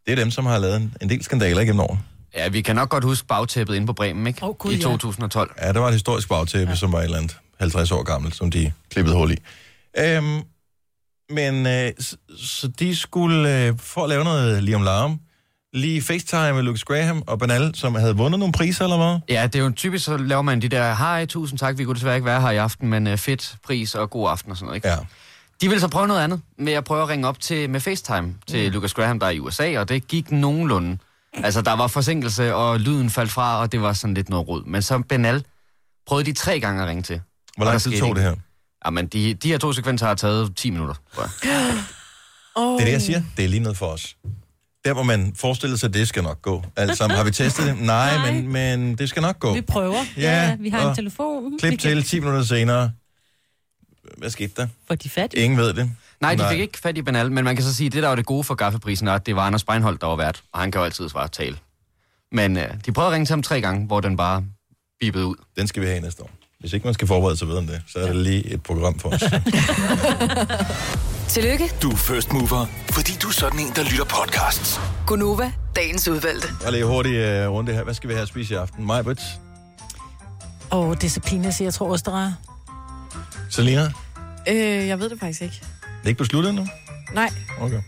S1: er dem, som har lavet en, en del skandaler igennem året.
S7: Ja, vi kan nok godt huske bagtæppet inde på Bremen, ikke?
S4: Åh, Gud,
S7: I
S4: ja.
S7: 2012.
S1: Ja, der var et historisk bagtæppe, ja. som var et eller andet 50 år gammelt, som de klippede hul i. Øhm, men øh, så, så de skulle, øh, for at lave noget Liam Larm, lige facetime med Lucas Graham og Banal, som havde vundet nogle priser, eller hvad?
S7: Ja, det er jo typisk, så laver man de der, hej, tusind tak, vi kunne desværre ikke være her i aften, men øh, fedt, pris og god aften og sådan noget, ikke?
S1: Ja.
S7: De ville så prøve noget andet, med at prøve at ringe op til, med FaceTime til mm. Lucas Graham, der er i USA, og det gik nogenlunde. Altså, der var forsinkelse, og lyden faldt fra, og det var sådan lidt noget rod. Men så Benal prøvede de tre gange at ringe til.
S1: Hvor
S7: Og der
S1: lang tid
S7: skete
S1: tog
S7: ikke-
S1: det her?
S7: Jamen, de, de her to sekvenser har taget 10 minutter, tror jeg.
S1: Det er det, jeg siger. Det er lige noget for os. Der, hvor man forestillede sig, det skal nok gå. Alt sammen. Har vi testet det? Nej, Nej. Men, men det skal nok gå.
S4: Vi prøver.
S1: Ja,
S3: vi har en
S1: og
S3: telefon.
S1: Klip til 10 minutter senere. Hvad skete der?
S3: For de fat.
S1: Ingen ved det.
S7: Nej, de fik ikke fat i Banal, men man kan så sige, at det der var det gode for gaffeprisen, er, at det var Anders Breinholt, der var vært, og han kan jo altid svare tale. Men øh, de prøvede at ringe til ham tre gange, hvor den bare bibede ud.
S1: Den skal vi have i næste år. Hvis ikke man skal forberede sig videre om det, så er det lige et program for os.
S5: Tillykke,
S6: Du er first mover, fordi du er sådan en, der lytter podcasts.
S5: Gunova, dagens udvalgte.
S1: Og lige hurtigt uh, runde her. Hvad skal vi have at spise i aften? Majbrit?
S4: Åh, det er så pinligt at sige, jeg tror også, der er.
S1: Selina? Det
S2: Øh, jeg ved det faktisk ikke.
S1: er ikke besluttet endnu?
S2: Nej.
S1: Okay.
S3: Øh,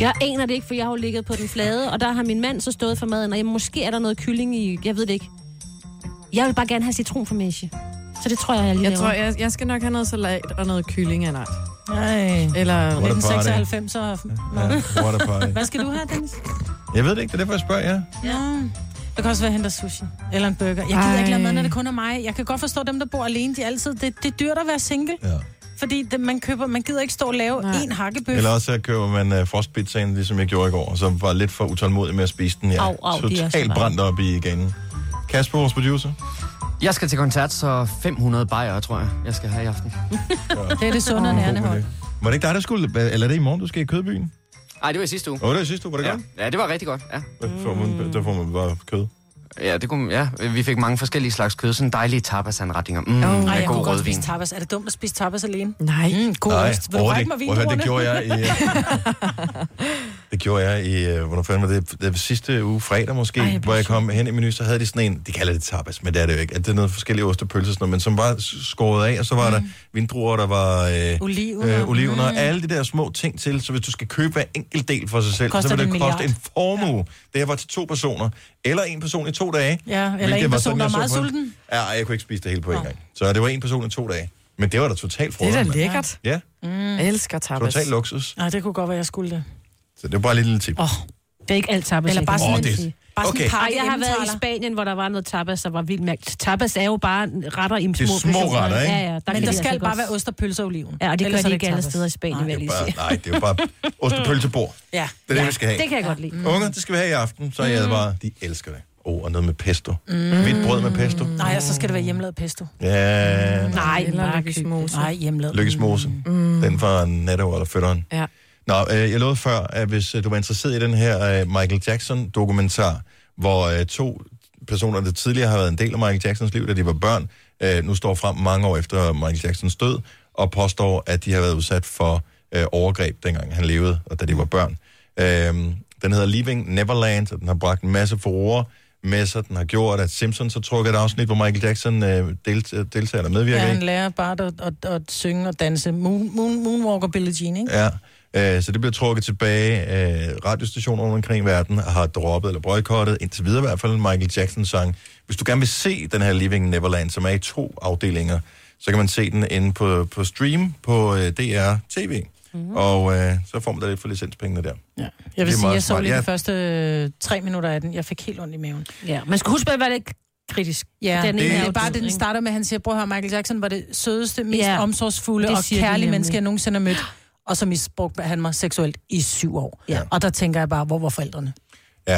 S3: Jeg aner det ikke, for jeg har jo ligget på den flade, og der har min mand så stået for maden, og jamen, måske er der noget kylling i, jeg ved det ikke. Jeg vil bare gerne have citronformage. Så det tror jeg, jeg lige
S2: Jeg
S3: laver.
S2: tror, jeg, jeg skal nok have noget salat og noget kylling af en art.
S4: Nej.
S2: Eller...
S1: What a party.
S4: 1996 og...
S1: Ja, what a party.
S4: Hvad skal du have, Dennis?
S1: Jeg ved det ikke, det er derfor, jeg spørger jer.
S4: Ja. Det kan også være, at jeg henter sushi. Eller en burger. Jeg gider
S2: Ej.
S4: ikke lade mad, når det kun er mig. Jeg kan godt forstå dem, der bor alene. De er altid, det, det er dyrt at være single.
S1: Ja.
S4: Fordi det, man, køber, man gider ikke stå og lave en hakkebøf.
S1: Eller også så køber man uh, frostpizzaen, ligesom jeg gjorde i går, og så var lidt for utålmodig med at spise den. Jeg
S3: Au, au, de er også
S1: totalt
S3: bare-
S1: brændt op i ganen. Kasper, vores producer.
S7: Jeg skal til koncert, så 500 bajer, tror jeg, jeg skal have i aften.
S4: Det er det sunde og nærende hold.
S1: Var det ikke dig, der skulle... Eller er det i morgen, du skal i kødbyen?
S7: Nej, det var i sidste uge.
S1: Åh, oh, det var sidste uge, var det
S7: Ja.
S1: godt?
S7: ja, det var rigtig godt, ja.
S1: Der får man, der får man bare kød.
S7: Ja, det kunne, ja, vi fik mange forskellige slags kød. Sådan dejlige tapasanretninger. Mm,
S4: Mm,
S7: med
S4: Ej, jeg kunne
S7: god
S4: godt
S7: rødvin.
S4: spise tapas. Er det dumt at spise tapas alene?
S2: Nej.
S4: Mm, god
S1: Nej,
S4: ost. Vil du
S1: overhovedet
S4: række
S1: ikke.
S4: mig
S1: Prøv at høre, det
S4: vinduerne?
S1: gjorde jeg i... det gjorde jeg i, øh, hvornår fanden var det, det var sidste uge, fredag måske,
S4: Ej,
S1: Ej,
S4: jeg
S1: hvor jeg kom hen i menu, så havde de sådan en, de kalder det tapas, men det er det jo ikke, at det er noget forskellige ostepølser, sådan noget, men som var s- skåret af, og så var mm. der vindruer, der var øh,
S4: Olivener.
S1: øh, olivener mm. og alle de der små ting til, så hvis du skal købe hver enkelt del for sig selv,
S4: Koster
S1: så vil
S4: det
S1: det
S4: en
S1: koste
S4: milliard?
S1: en formue. Ja. Det her var til to personer, eller en person i to dage.
S4: Ja, eller
S1: hvilket
S4: en
S1: var
S4: person,
S1: jeg
S4: der er
S1: så
S4: meget
S1: på det.
S4: sulten.
S1: Ja, ej, jeg kunne ikke spise det hele på en gang. Så det var en person i to dage. Men det var da totalt
S2: Det er da
S1: frøderen.
S2: lækkert.
S1: Ja,
S2: Jeg elsker tapas.
S1: totalt luksus.
S4: Nej, det kunne godt være, jeg skulle det.
S1: Så det var bare lige et lille tip.
S4: Åh, det er ikke alt tapas.
S3: Eller bare
S1: Åh,
S3: sådan
S1: det-
S3: en
S4: Bare sådan
S1: Okay.
S4: en
S3: Ej,
S4: pakke
S3: jeg har været i
S4: emmentaler.
S3: Spanien, hvor der var noget tapas, der var vildt mærkt. Tapas er jo bare retter i små
S1: er små
S3: portioner.
S1: retter, ikke?
S3: Ja, ja, der
S4: Men
S3: kan
S4: der
S3: de altså
S4: skal bare
S3: godt-
S4: være ost og pølser og oliven.
S3: Ja, og det
S4: Ellers
S3: gør
S4: er
S3: de ikke alle
S4: tapas.
S3: steder i Spanien, vil jeg
S1: Det er
S3: lige sige.
S1: bare, nej, det er jo bare ostepølsebord.
S4: Ja.
S1: Det er det, vi skal have.
S3: Det kan jeg godt
S4: Mm.
S3: lide.
S1: Unger, det skal vi have i aften, så jeg bare, de elsker det. Åh, oh, og noget med pesto. Mm. Hvidt brød med pesto.
S4: Nej, og så skal det være hjemmelavet pesto.
S1: Ja,
S3: Nej,
S2: Eller
S3: bare køb det.
S2: lykkesmose.
S4: Nej, hjemmelavet.
S1: lykkesmose. Mm. Den fra Netto eller fødderen.
S2: Ja.
S1: Nå, øh, jeg lovede før, at hvis øh, du var interesseret i den her øh, Michael Jackson-dokumentar, hvor øh, to personer, der tidligere har været en del af Michael Jacksons liv, da de var børn, øh, nu står frem mange år efter Michael Jacksons død, og påstår, at de har været udsat for øh, overgreb, dengang han levede, og da de var børn. Øh, den hedder Leaving Neverland, og den har bragt en masse furore med sig. Den har gjort, at Simpsons har trukket et afsnit, hvor Michael Jackson øh, delt- deltager eller medvirker
S4: Ja,
S1: i.
S4: han lærer bare at, at, at synge og danse. Moon, moon, moonwalker Billie Jean, ikke?
S1: Ja, øh, så det bliver trukket tilbage. Øh, radiostationer rundt omkring i verden har droppet eller boykottet, indtil videre i hvert fald, en Michael Jackson-sang. Hvis du gerne vil se den her Living Neverland, som er i to afdelinger, så kan man se den inde på, på stream på øh, DR TV. Mm-hmm. Og øh, så får man da lidt for licenspengene der.
S4: Ja. Jeg
S1: Det er
S4: vil sige,
S1: meget
S4: jeg så
S1: smart.
S4: lige
S1: Ja.
S4: de første øh, tre minutter af den. Jeg fik helt ondt i maven.
S3: Ja, man skal huske på at være lidt kritisk.
S4: Ja,
S3: Den
S4: den
S1: ene
S4: det,
S1: er
S4: er
S1: jo
S4: det bare
S3: død,
S4: det, den
S3: ikke?
S4: starter med, han siger, bror her, Michael Jackson var det sødeste, mest
S3: Ja,
S4: ja, omsorgsfulde
S3: det
S4: og
S3: siger de
S4: kærlige
S3: nemlig.
S4: menneske, jeg nogensinde har mødt. Og så misbrugte han mig seksuelt i syv år.
S1: Ja.
S4: Ja. Og der tænker jeg bare, hvor var forældrene?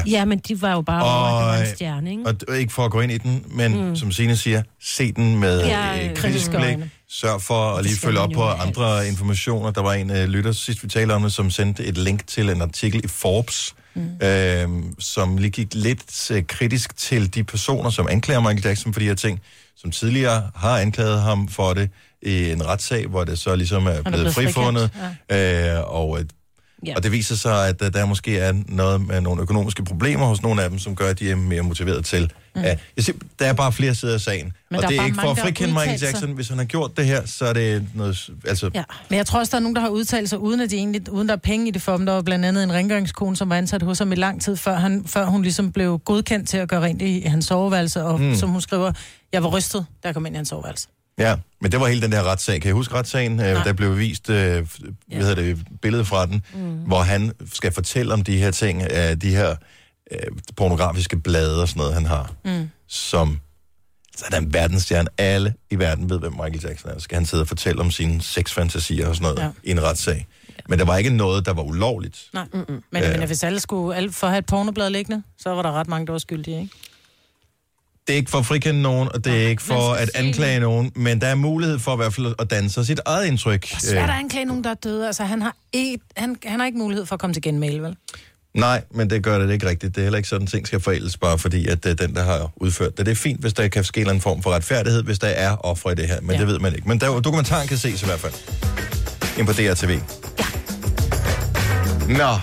S3: Ja, men de var jo bare
S1: Og-
S3: over, at det var en stjerne, ikke?
S1: Og d- ikke for at gå ind i den, men mm. som Signe siger, se den med
S3: Ja,
S1: ja, øh, kritisk
S4: kritiske
S1: blik.
S4: øjne.
S1: Sørg for at lige
S3: skal
S1: følge op
S3: man
S1: på
S3: jo
S1: andre informationer. Der var en øh, lytter, sidst vi talte om det, som sendte et link til en artikel i Forbes, mm. øh, som lige gik lidt øh, kritisk til de personer, som anklager Michael Jackson for de her ting, som tidligere har anklaget ham for det i en retssag, hvor det så ligesom er blevet
S4: blevet
S1: frifundet.
S4: frikendt,
S1: Ja. Øh, og øh,
S3: Ja.
S1: og det viser sig, at øh, der måske er noget med nogle økonomiske problemer hos nogle af dem, som gør, at de er mere motiveret til. Mm. Uh, jeg siger, der er bare flere sider af sagen.
S4: Men
S1: og
S4: der
S1: det er
S4: er bare
S1: ikke for
S4: mange,
S1: at
S4: der har
S1: frikende Michael
S4: udtalt sig.
S1: Jackson. Hvis han har gjort det her, så er det noget... s- Altså, ja.
S4: Ja. Men jeg tror også, der er nogen, der har udtalt sig, uden at de egentlig, uden der er penge i det for dem. Der var blandt andet en rengøringskone, som var ansat hos ham i lang tid, før, han, før hun ligesom blev godkendt til at gøre rent i hans soveværelse. Og mm. som hun skriver, jeg var rystet, da jeg kom ind i hans soveværelse.
S1: ja. Men det var hele den der retssag. Kan I huske retssagen? Uh, der blev vist uh, hvad hedder det, billedet fra den, mm. hvor han skal fortælle om de her ting, uh, de her uh, pornografiske blade og sådan noget, han har, mm. som så er der en verdensstjerne. Alle i verden ved, hvem Michael Jackson er. Så skal han sidde og fortælle om sine sexfantasier og sådan noget ja. i en retssag. Men der var ikke noget, der var ulovligt.
S4: Nej, mm-mm. men, ja.
S1: Ja.
S4: men hvis alle skulle alle for at have et pornoblad liggende, så var der ret mange, der var skyldige, ikke?
S1: Det er ikke for at frikende nogen, og det er ikke for at anklage nogen, men der er mulighed for i hvert fald at danne sig sit eget indtryk. øh,
S4: Og svært at anklage nogen, der er døde. Altså, han har, et, han, han har ikke mulighed for at komme til genmæle, vel?
S1: Nej, men det gør det ikke rigtigt. Det er heller ikke sådan, ting skal forældes, bare fordi at det er den, der har udført det. Det er fint, hvis der kan ske en eller anden form for retfærdighed, hvis der er ofre i det her, men ja. det ved man ikke. Men der, dokumentaren kan ses i hvert fald. Ind på DRTV. Ja. Nå,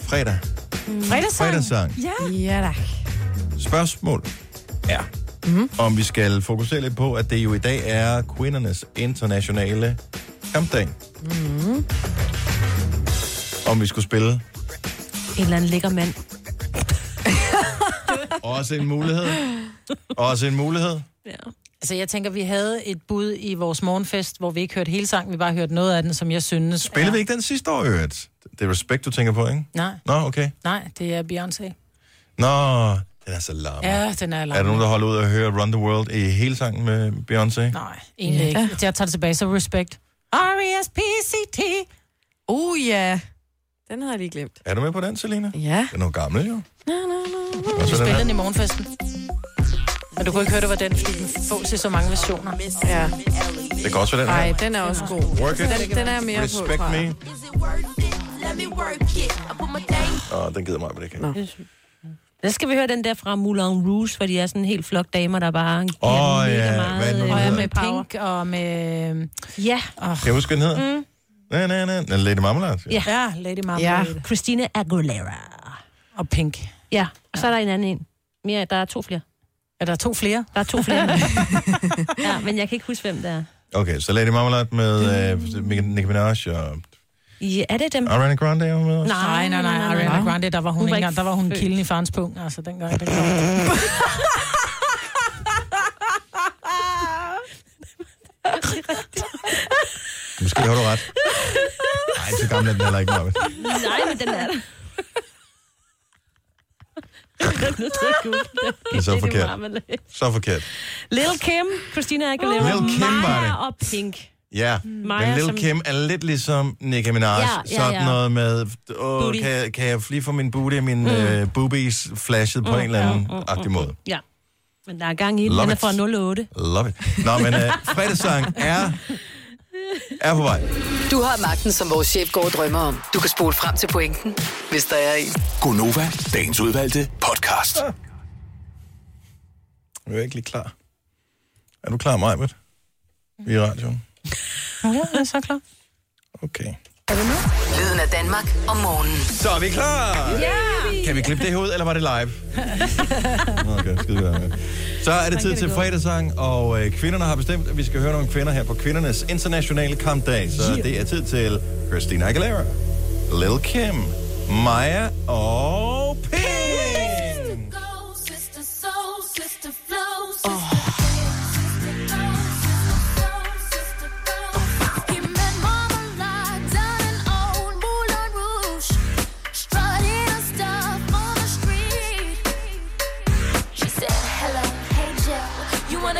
S1: fredag.
S4: Mm. Fredagssang.
S1: Fredagssang.
S4: Ja. Ja, da.
S1: Spørgsmål er, mm. om vi skal fokusere lidt på, at det jo i dag er kvindernes internationale kampdag. Mm. Om vi skulle spille
S3: En eller anden lækker mand.
S1: Også en mulighed. Også en mulighed.
S4: Ja. Altså, jeg tænker, vi havde et bud i vores morgenfest, hvor vi ikke hørte hele sangen, vi bare hørte noget af den, som jeg synes...
S1: Spillede vi ikke den sidste år, øvrigt? Det er Respect, du tænker på, ikke?
S4: Nej.
S1: Nå, okay.
S4: Nej, det er Beyoncé.
S1: Nå, den er så larm.
S4: Ja, den er larm.
S1: Er der nogen, der holder ud og hører Run the World i hele sangen med Beyoncé?
S4: Nej, egentlig ja. ikke. Jeg tager det tilbage, så Respect.
S2: E
S4: R-E-S-P-C-T.
S2: Oh ja, yeah. den havde jeg lige glemt.
S1: Er du med på den, Selina?
S2: Ja.
S1: Den er jo gammel, jo.
S2: Na, na, na, na.
S4: Vi spillede den i morgenfesten. Men du kunne ikke høre, det var den, fordi den fås i så mange versioner.
S2: Ja.
S1: Det kan også være den her.
S2: Nej, den er også god.
S1: Work it.
S2: Den, den er jeg mere
S1: Respect
S2: på, tror jeg.
S1: me. Åh, den gider mig, men det kan.
S2: Nå.
S3: Der skal vi høre den der fra Moulin Rouge, hvor de er sådan en helt flok damer, der bare giver
S1: Åh,
S3: den mega
S1: ja. Hvad er
S3: meget.
S1: det nu, den
S3: øh,
S1: hedder?
S4: Med Pink og med...
S3: Ja.
S1: Kan jeg huske, hvad den hedder? Mm. Nej, nej, nej. Den er Lady Marmalade.
S3: ja.
S4: Mm. Ja, Lady
S3: Ja.
S4: Marmalade. Ja.
S3: Christina Aguilera.
S4: Og Pink.
S3: Ja, og så er der en anden en. Mere, der er to flere.
S4: Er der to flere?
S3: Der er to flere. ja, men jeg kan ikke huske, hvem det er.
S1: Okay, så Lady Marmalade med
S2: Mm.
S1: øh, Nicki Minaj og
S3: Ja, er det dem?
S1: Ariana Grande er hun med også.
S4: Nej, nej, nej. Ariana Grande, der var hun,
S3: Hun
S4: hun
S3: var
S4: ikke engang.
S3: ikke
S4: Der var hun
S3: født.
S4: kilden i farens pung, altså dengang. Det kom.
S1: Måske har du ret. Nej, så gammel er den heller ikke, Marvind.
S3: Nej, men den er der.
S1: Det er så forkert.
S3: Marmalade.
S1: Så forkert.
S3: Lil Kim, Christina Aguilera,
S1: Lil Kim var
S3: Maja
S1: det.
S3: og Pink.
S1: Ja,
S3: Maja,
S1: men Mm. Lil
S3: som-
S1: Kim er lidt ligesom Nicki Minaj.
S3: Ja,
S1: Ja,
S3: ja,
S1: ja, sådan
S3: ja.
S1: noget med, åh,
S3: Booty.
S1: kan, jeg- kan jeg lige få min booty og mine mm. uh, boobies flashet på mm, en eller anden mm, agtig måde.
S3: Ja, men der er gang i den.
S1: Love
S3: Den er
S1: it.
S3: fra 08.
S1: Love it. Nå, men uh, fredagssang er, er på vej.
S5: Du har magten, som vores chef går og drømmer om. Du kan spole frem til pointen, hvis der er en.
S6: Gonova, dagens udvalgte podcast.
S1: Jeg er ikke lige klar. Er du klar, Majbert? Vi er i radioen.
S4: Ja, jeg er så klar.
S1: Okay.
S5: Lyden af Danmark om morgenen.
S1: Så er vi klar! Yeah! Kan vi klippe det her ud, eller var det live? Nå, okay, skide være med. Så er det tid til fredagssang, og øh, kvinderne har bestemt, at vi skal høre nogle kvinder her på kvindernes internationale kampdag. Så yeah. det er tid til Christina Aguilera, Lil Kim, Maja og Pink!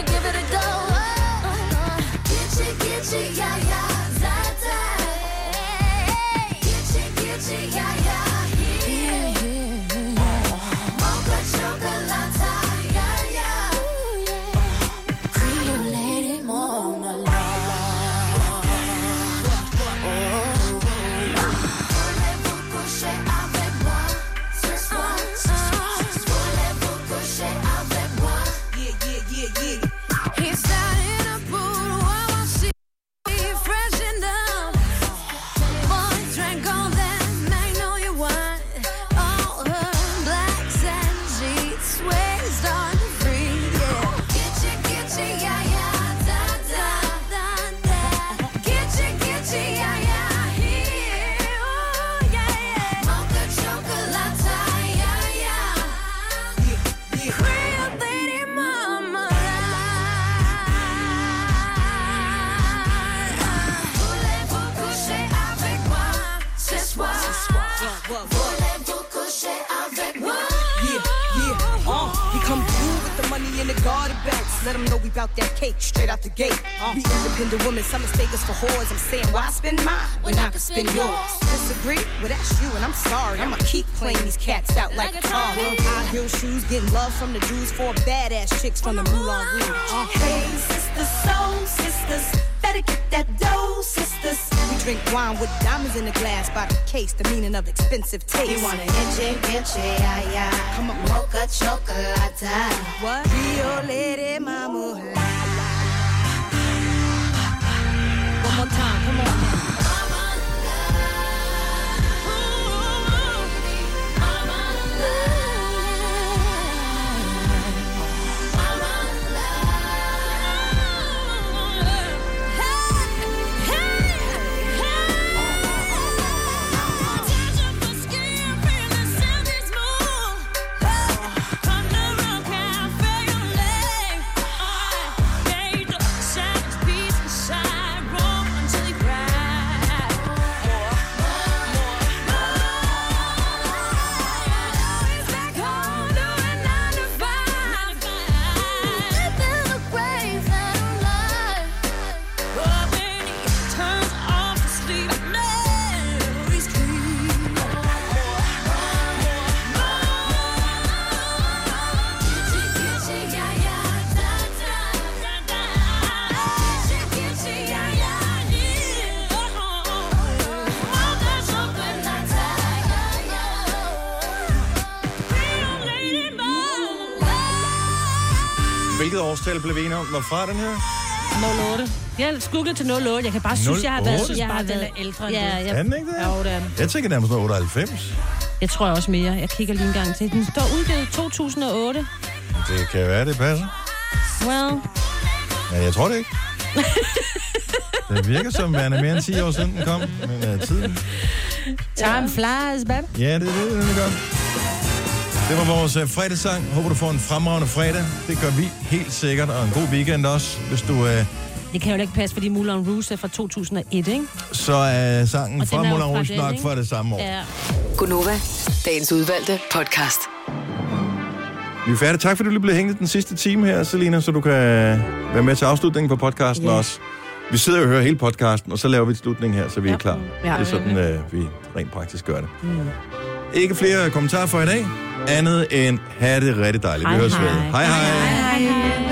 S12: Give it a go. Oh, oh. Get you, get you, yeah, yeah, that, that. Get you, get you, yeah, yeah, here. Mocha chocolata, yeah, yeah. Creole lady, mama, la. Voulez-vous coucher avec moi ce soir? Voulez-vous coucher avec moi? He's out in a pool while I see freshen up. Boy, drank all that magnolia wine. All her blacks and jeans, waist on free, yeah. Gitchy, gitchy, yeah, yeah, da, da, da, da. Gitchy, gitchy, yeah, yeah, here, ooh, yeah, yeah. Mocha chocolate, yeah, yeah. Creole lady mama. Voulez-vous coucher avec moi ce soir? Voulez-vous coucher avec moi?
S16: Yeah, yeah, uh, he come through with the money in the garden bags. Let 'em know we bout that cake straight out the gate.
S12: Uh.
S16: We independent women, some mistake us for whores. I'm saying, why spend mine when I can spend yours? Disagree? Well, that's you, and I'm sorry. I'ma keep playing these cats out like a car. High heel shoes, getting love from the Jews, four badass chicks from the Moulin Rouge. Uh.
S12: ah, Hey, sisters, soul sisters, better get that dough, sisters.
S16: We drink wine with diamonds in the glass by the case, the meaning of expensive taste.
S12: You want an inche, inche, ay, ay.
S16: Come on,
S12: Mocha chocolate.
S16: What?
S12: Rio Lady Mama.
S16: one more time, come on.
S1: Hvilket årstal blev vi enige om, var fra den her?
S3: 08. Jeg googlede til 08. Jeg kan bare synes, jeg har
S1: 08?
S3: været... Jeg,
S1: Jeg synes
S3: har
S1: bare,
S3: været
S1: den
S4: er ældre
S3: ja, jeg,
S1: Er den ikke det?
S3: Jo, det er den.
S1: Jeg tænker nærmest noget 98.
S3: Jeg tror også mere. Jeg kigger lige en gang til. Den står udgivet 2008.
S1: Det kan være, det passer.
S3: Well,
S1: Men jeg tror det ikke. Det virker som værende mere end 10 år siden den kom, men uh, tiden...
S4: Time flies, baby.
S1: Ja, det er det, den gør. Det var vores øh, fredagssang. Håber, du får en fremragende fredag. Det gør vi helt sikkert, og en god weekend også. Hvis du, øh,
S3: det kan jo ikke passe, fordi Moulin Rouge er fra 2001, ikke?
S1: så er sangen
S3: Og den
S1: fra
S3: er jo
S1: Moulin
S3: fra
S1: Rouge
S3: den,
S1: nok
S3: ikke?
S1: fra det samme år.
S3: Ja.
S5: Gunova, dagens udvalgte podcast.
S1: Vi er færdige. Tak fordi du lige blev hængende den sidste time her, Selina, så du kan øh, være med til afslutningen på podcasten yeah. også. Vi sidder jo og hører hele podcasten, og så laver vi en slutning her, så vi er klar.
S2: Ja.
S1: Det er sådan, øh, vi rent praktisk gør det. Ikke flere kommentarer for i dag, andet end have det rigtig dejligt. Vi høres ved. Hej hej.
S3: hej. hej.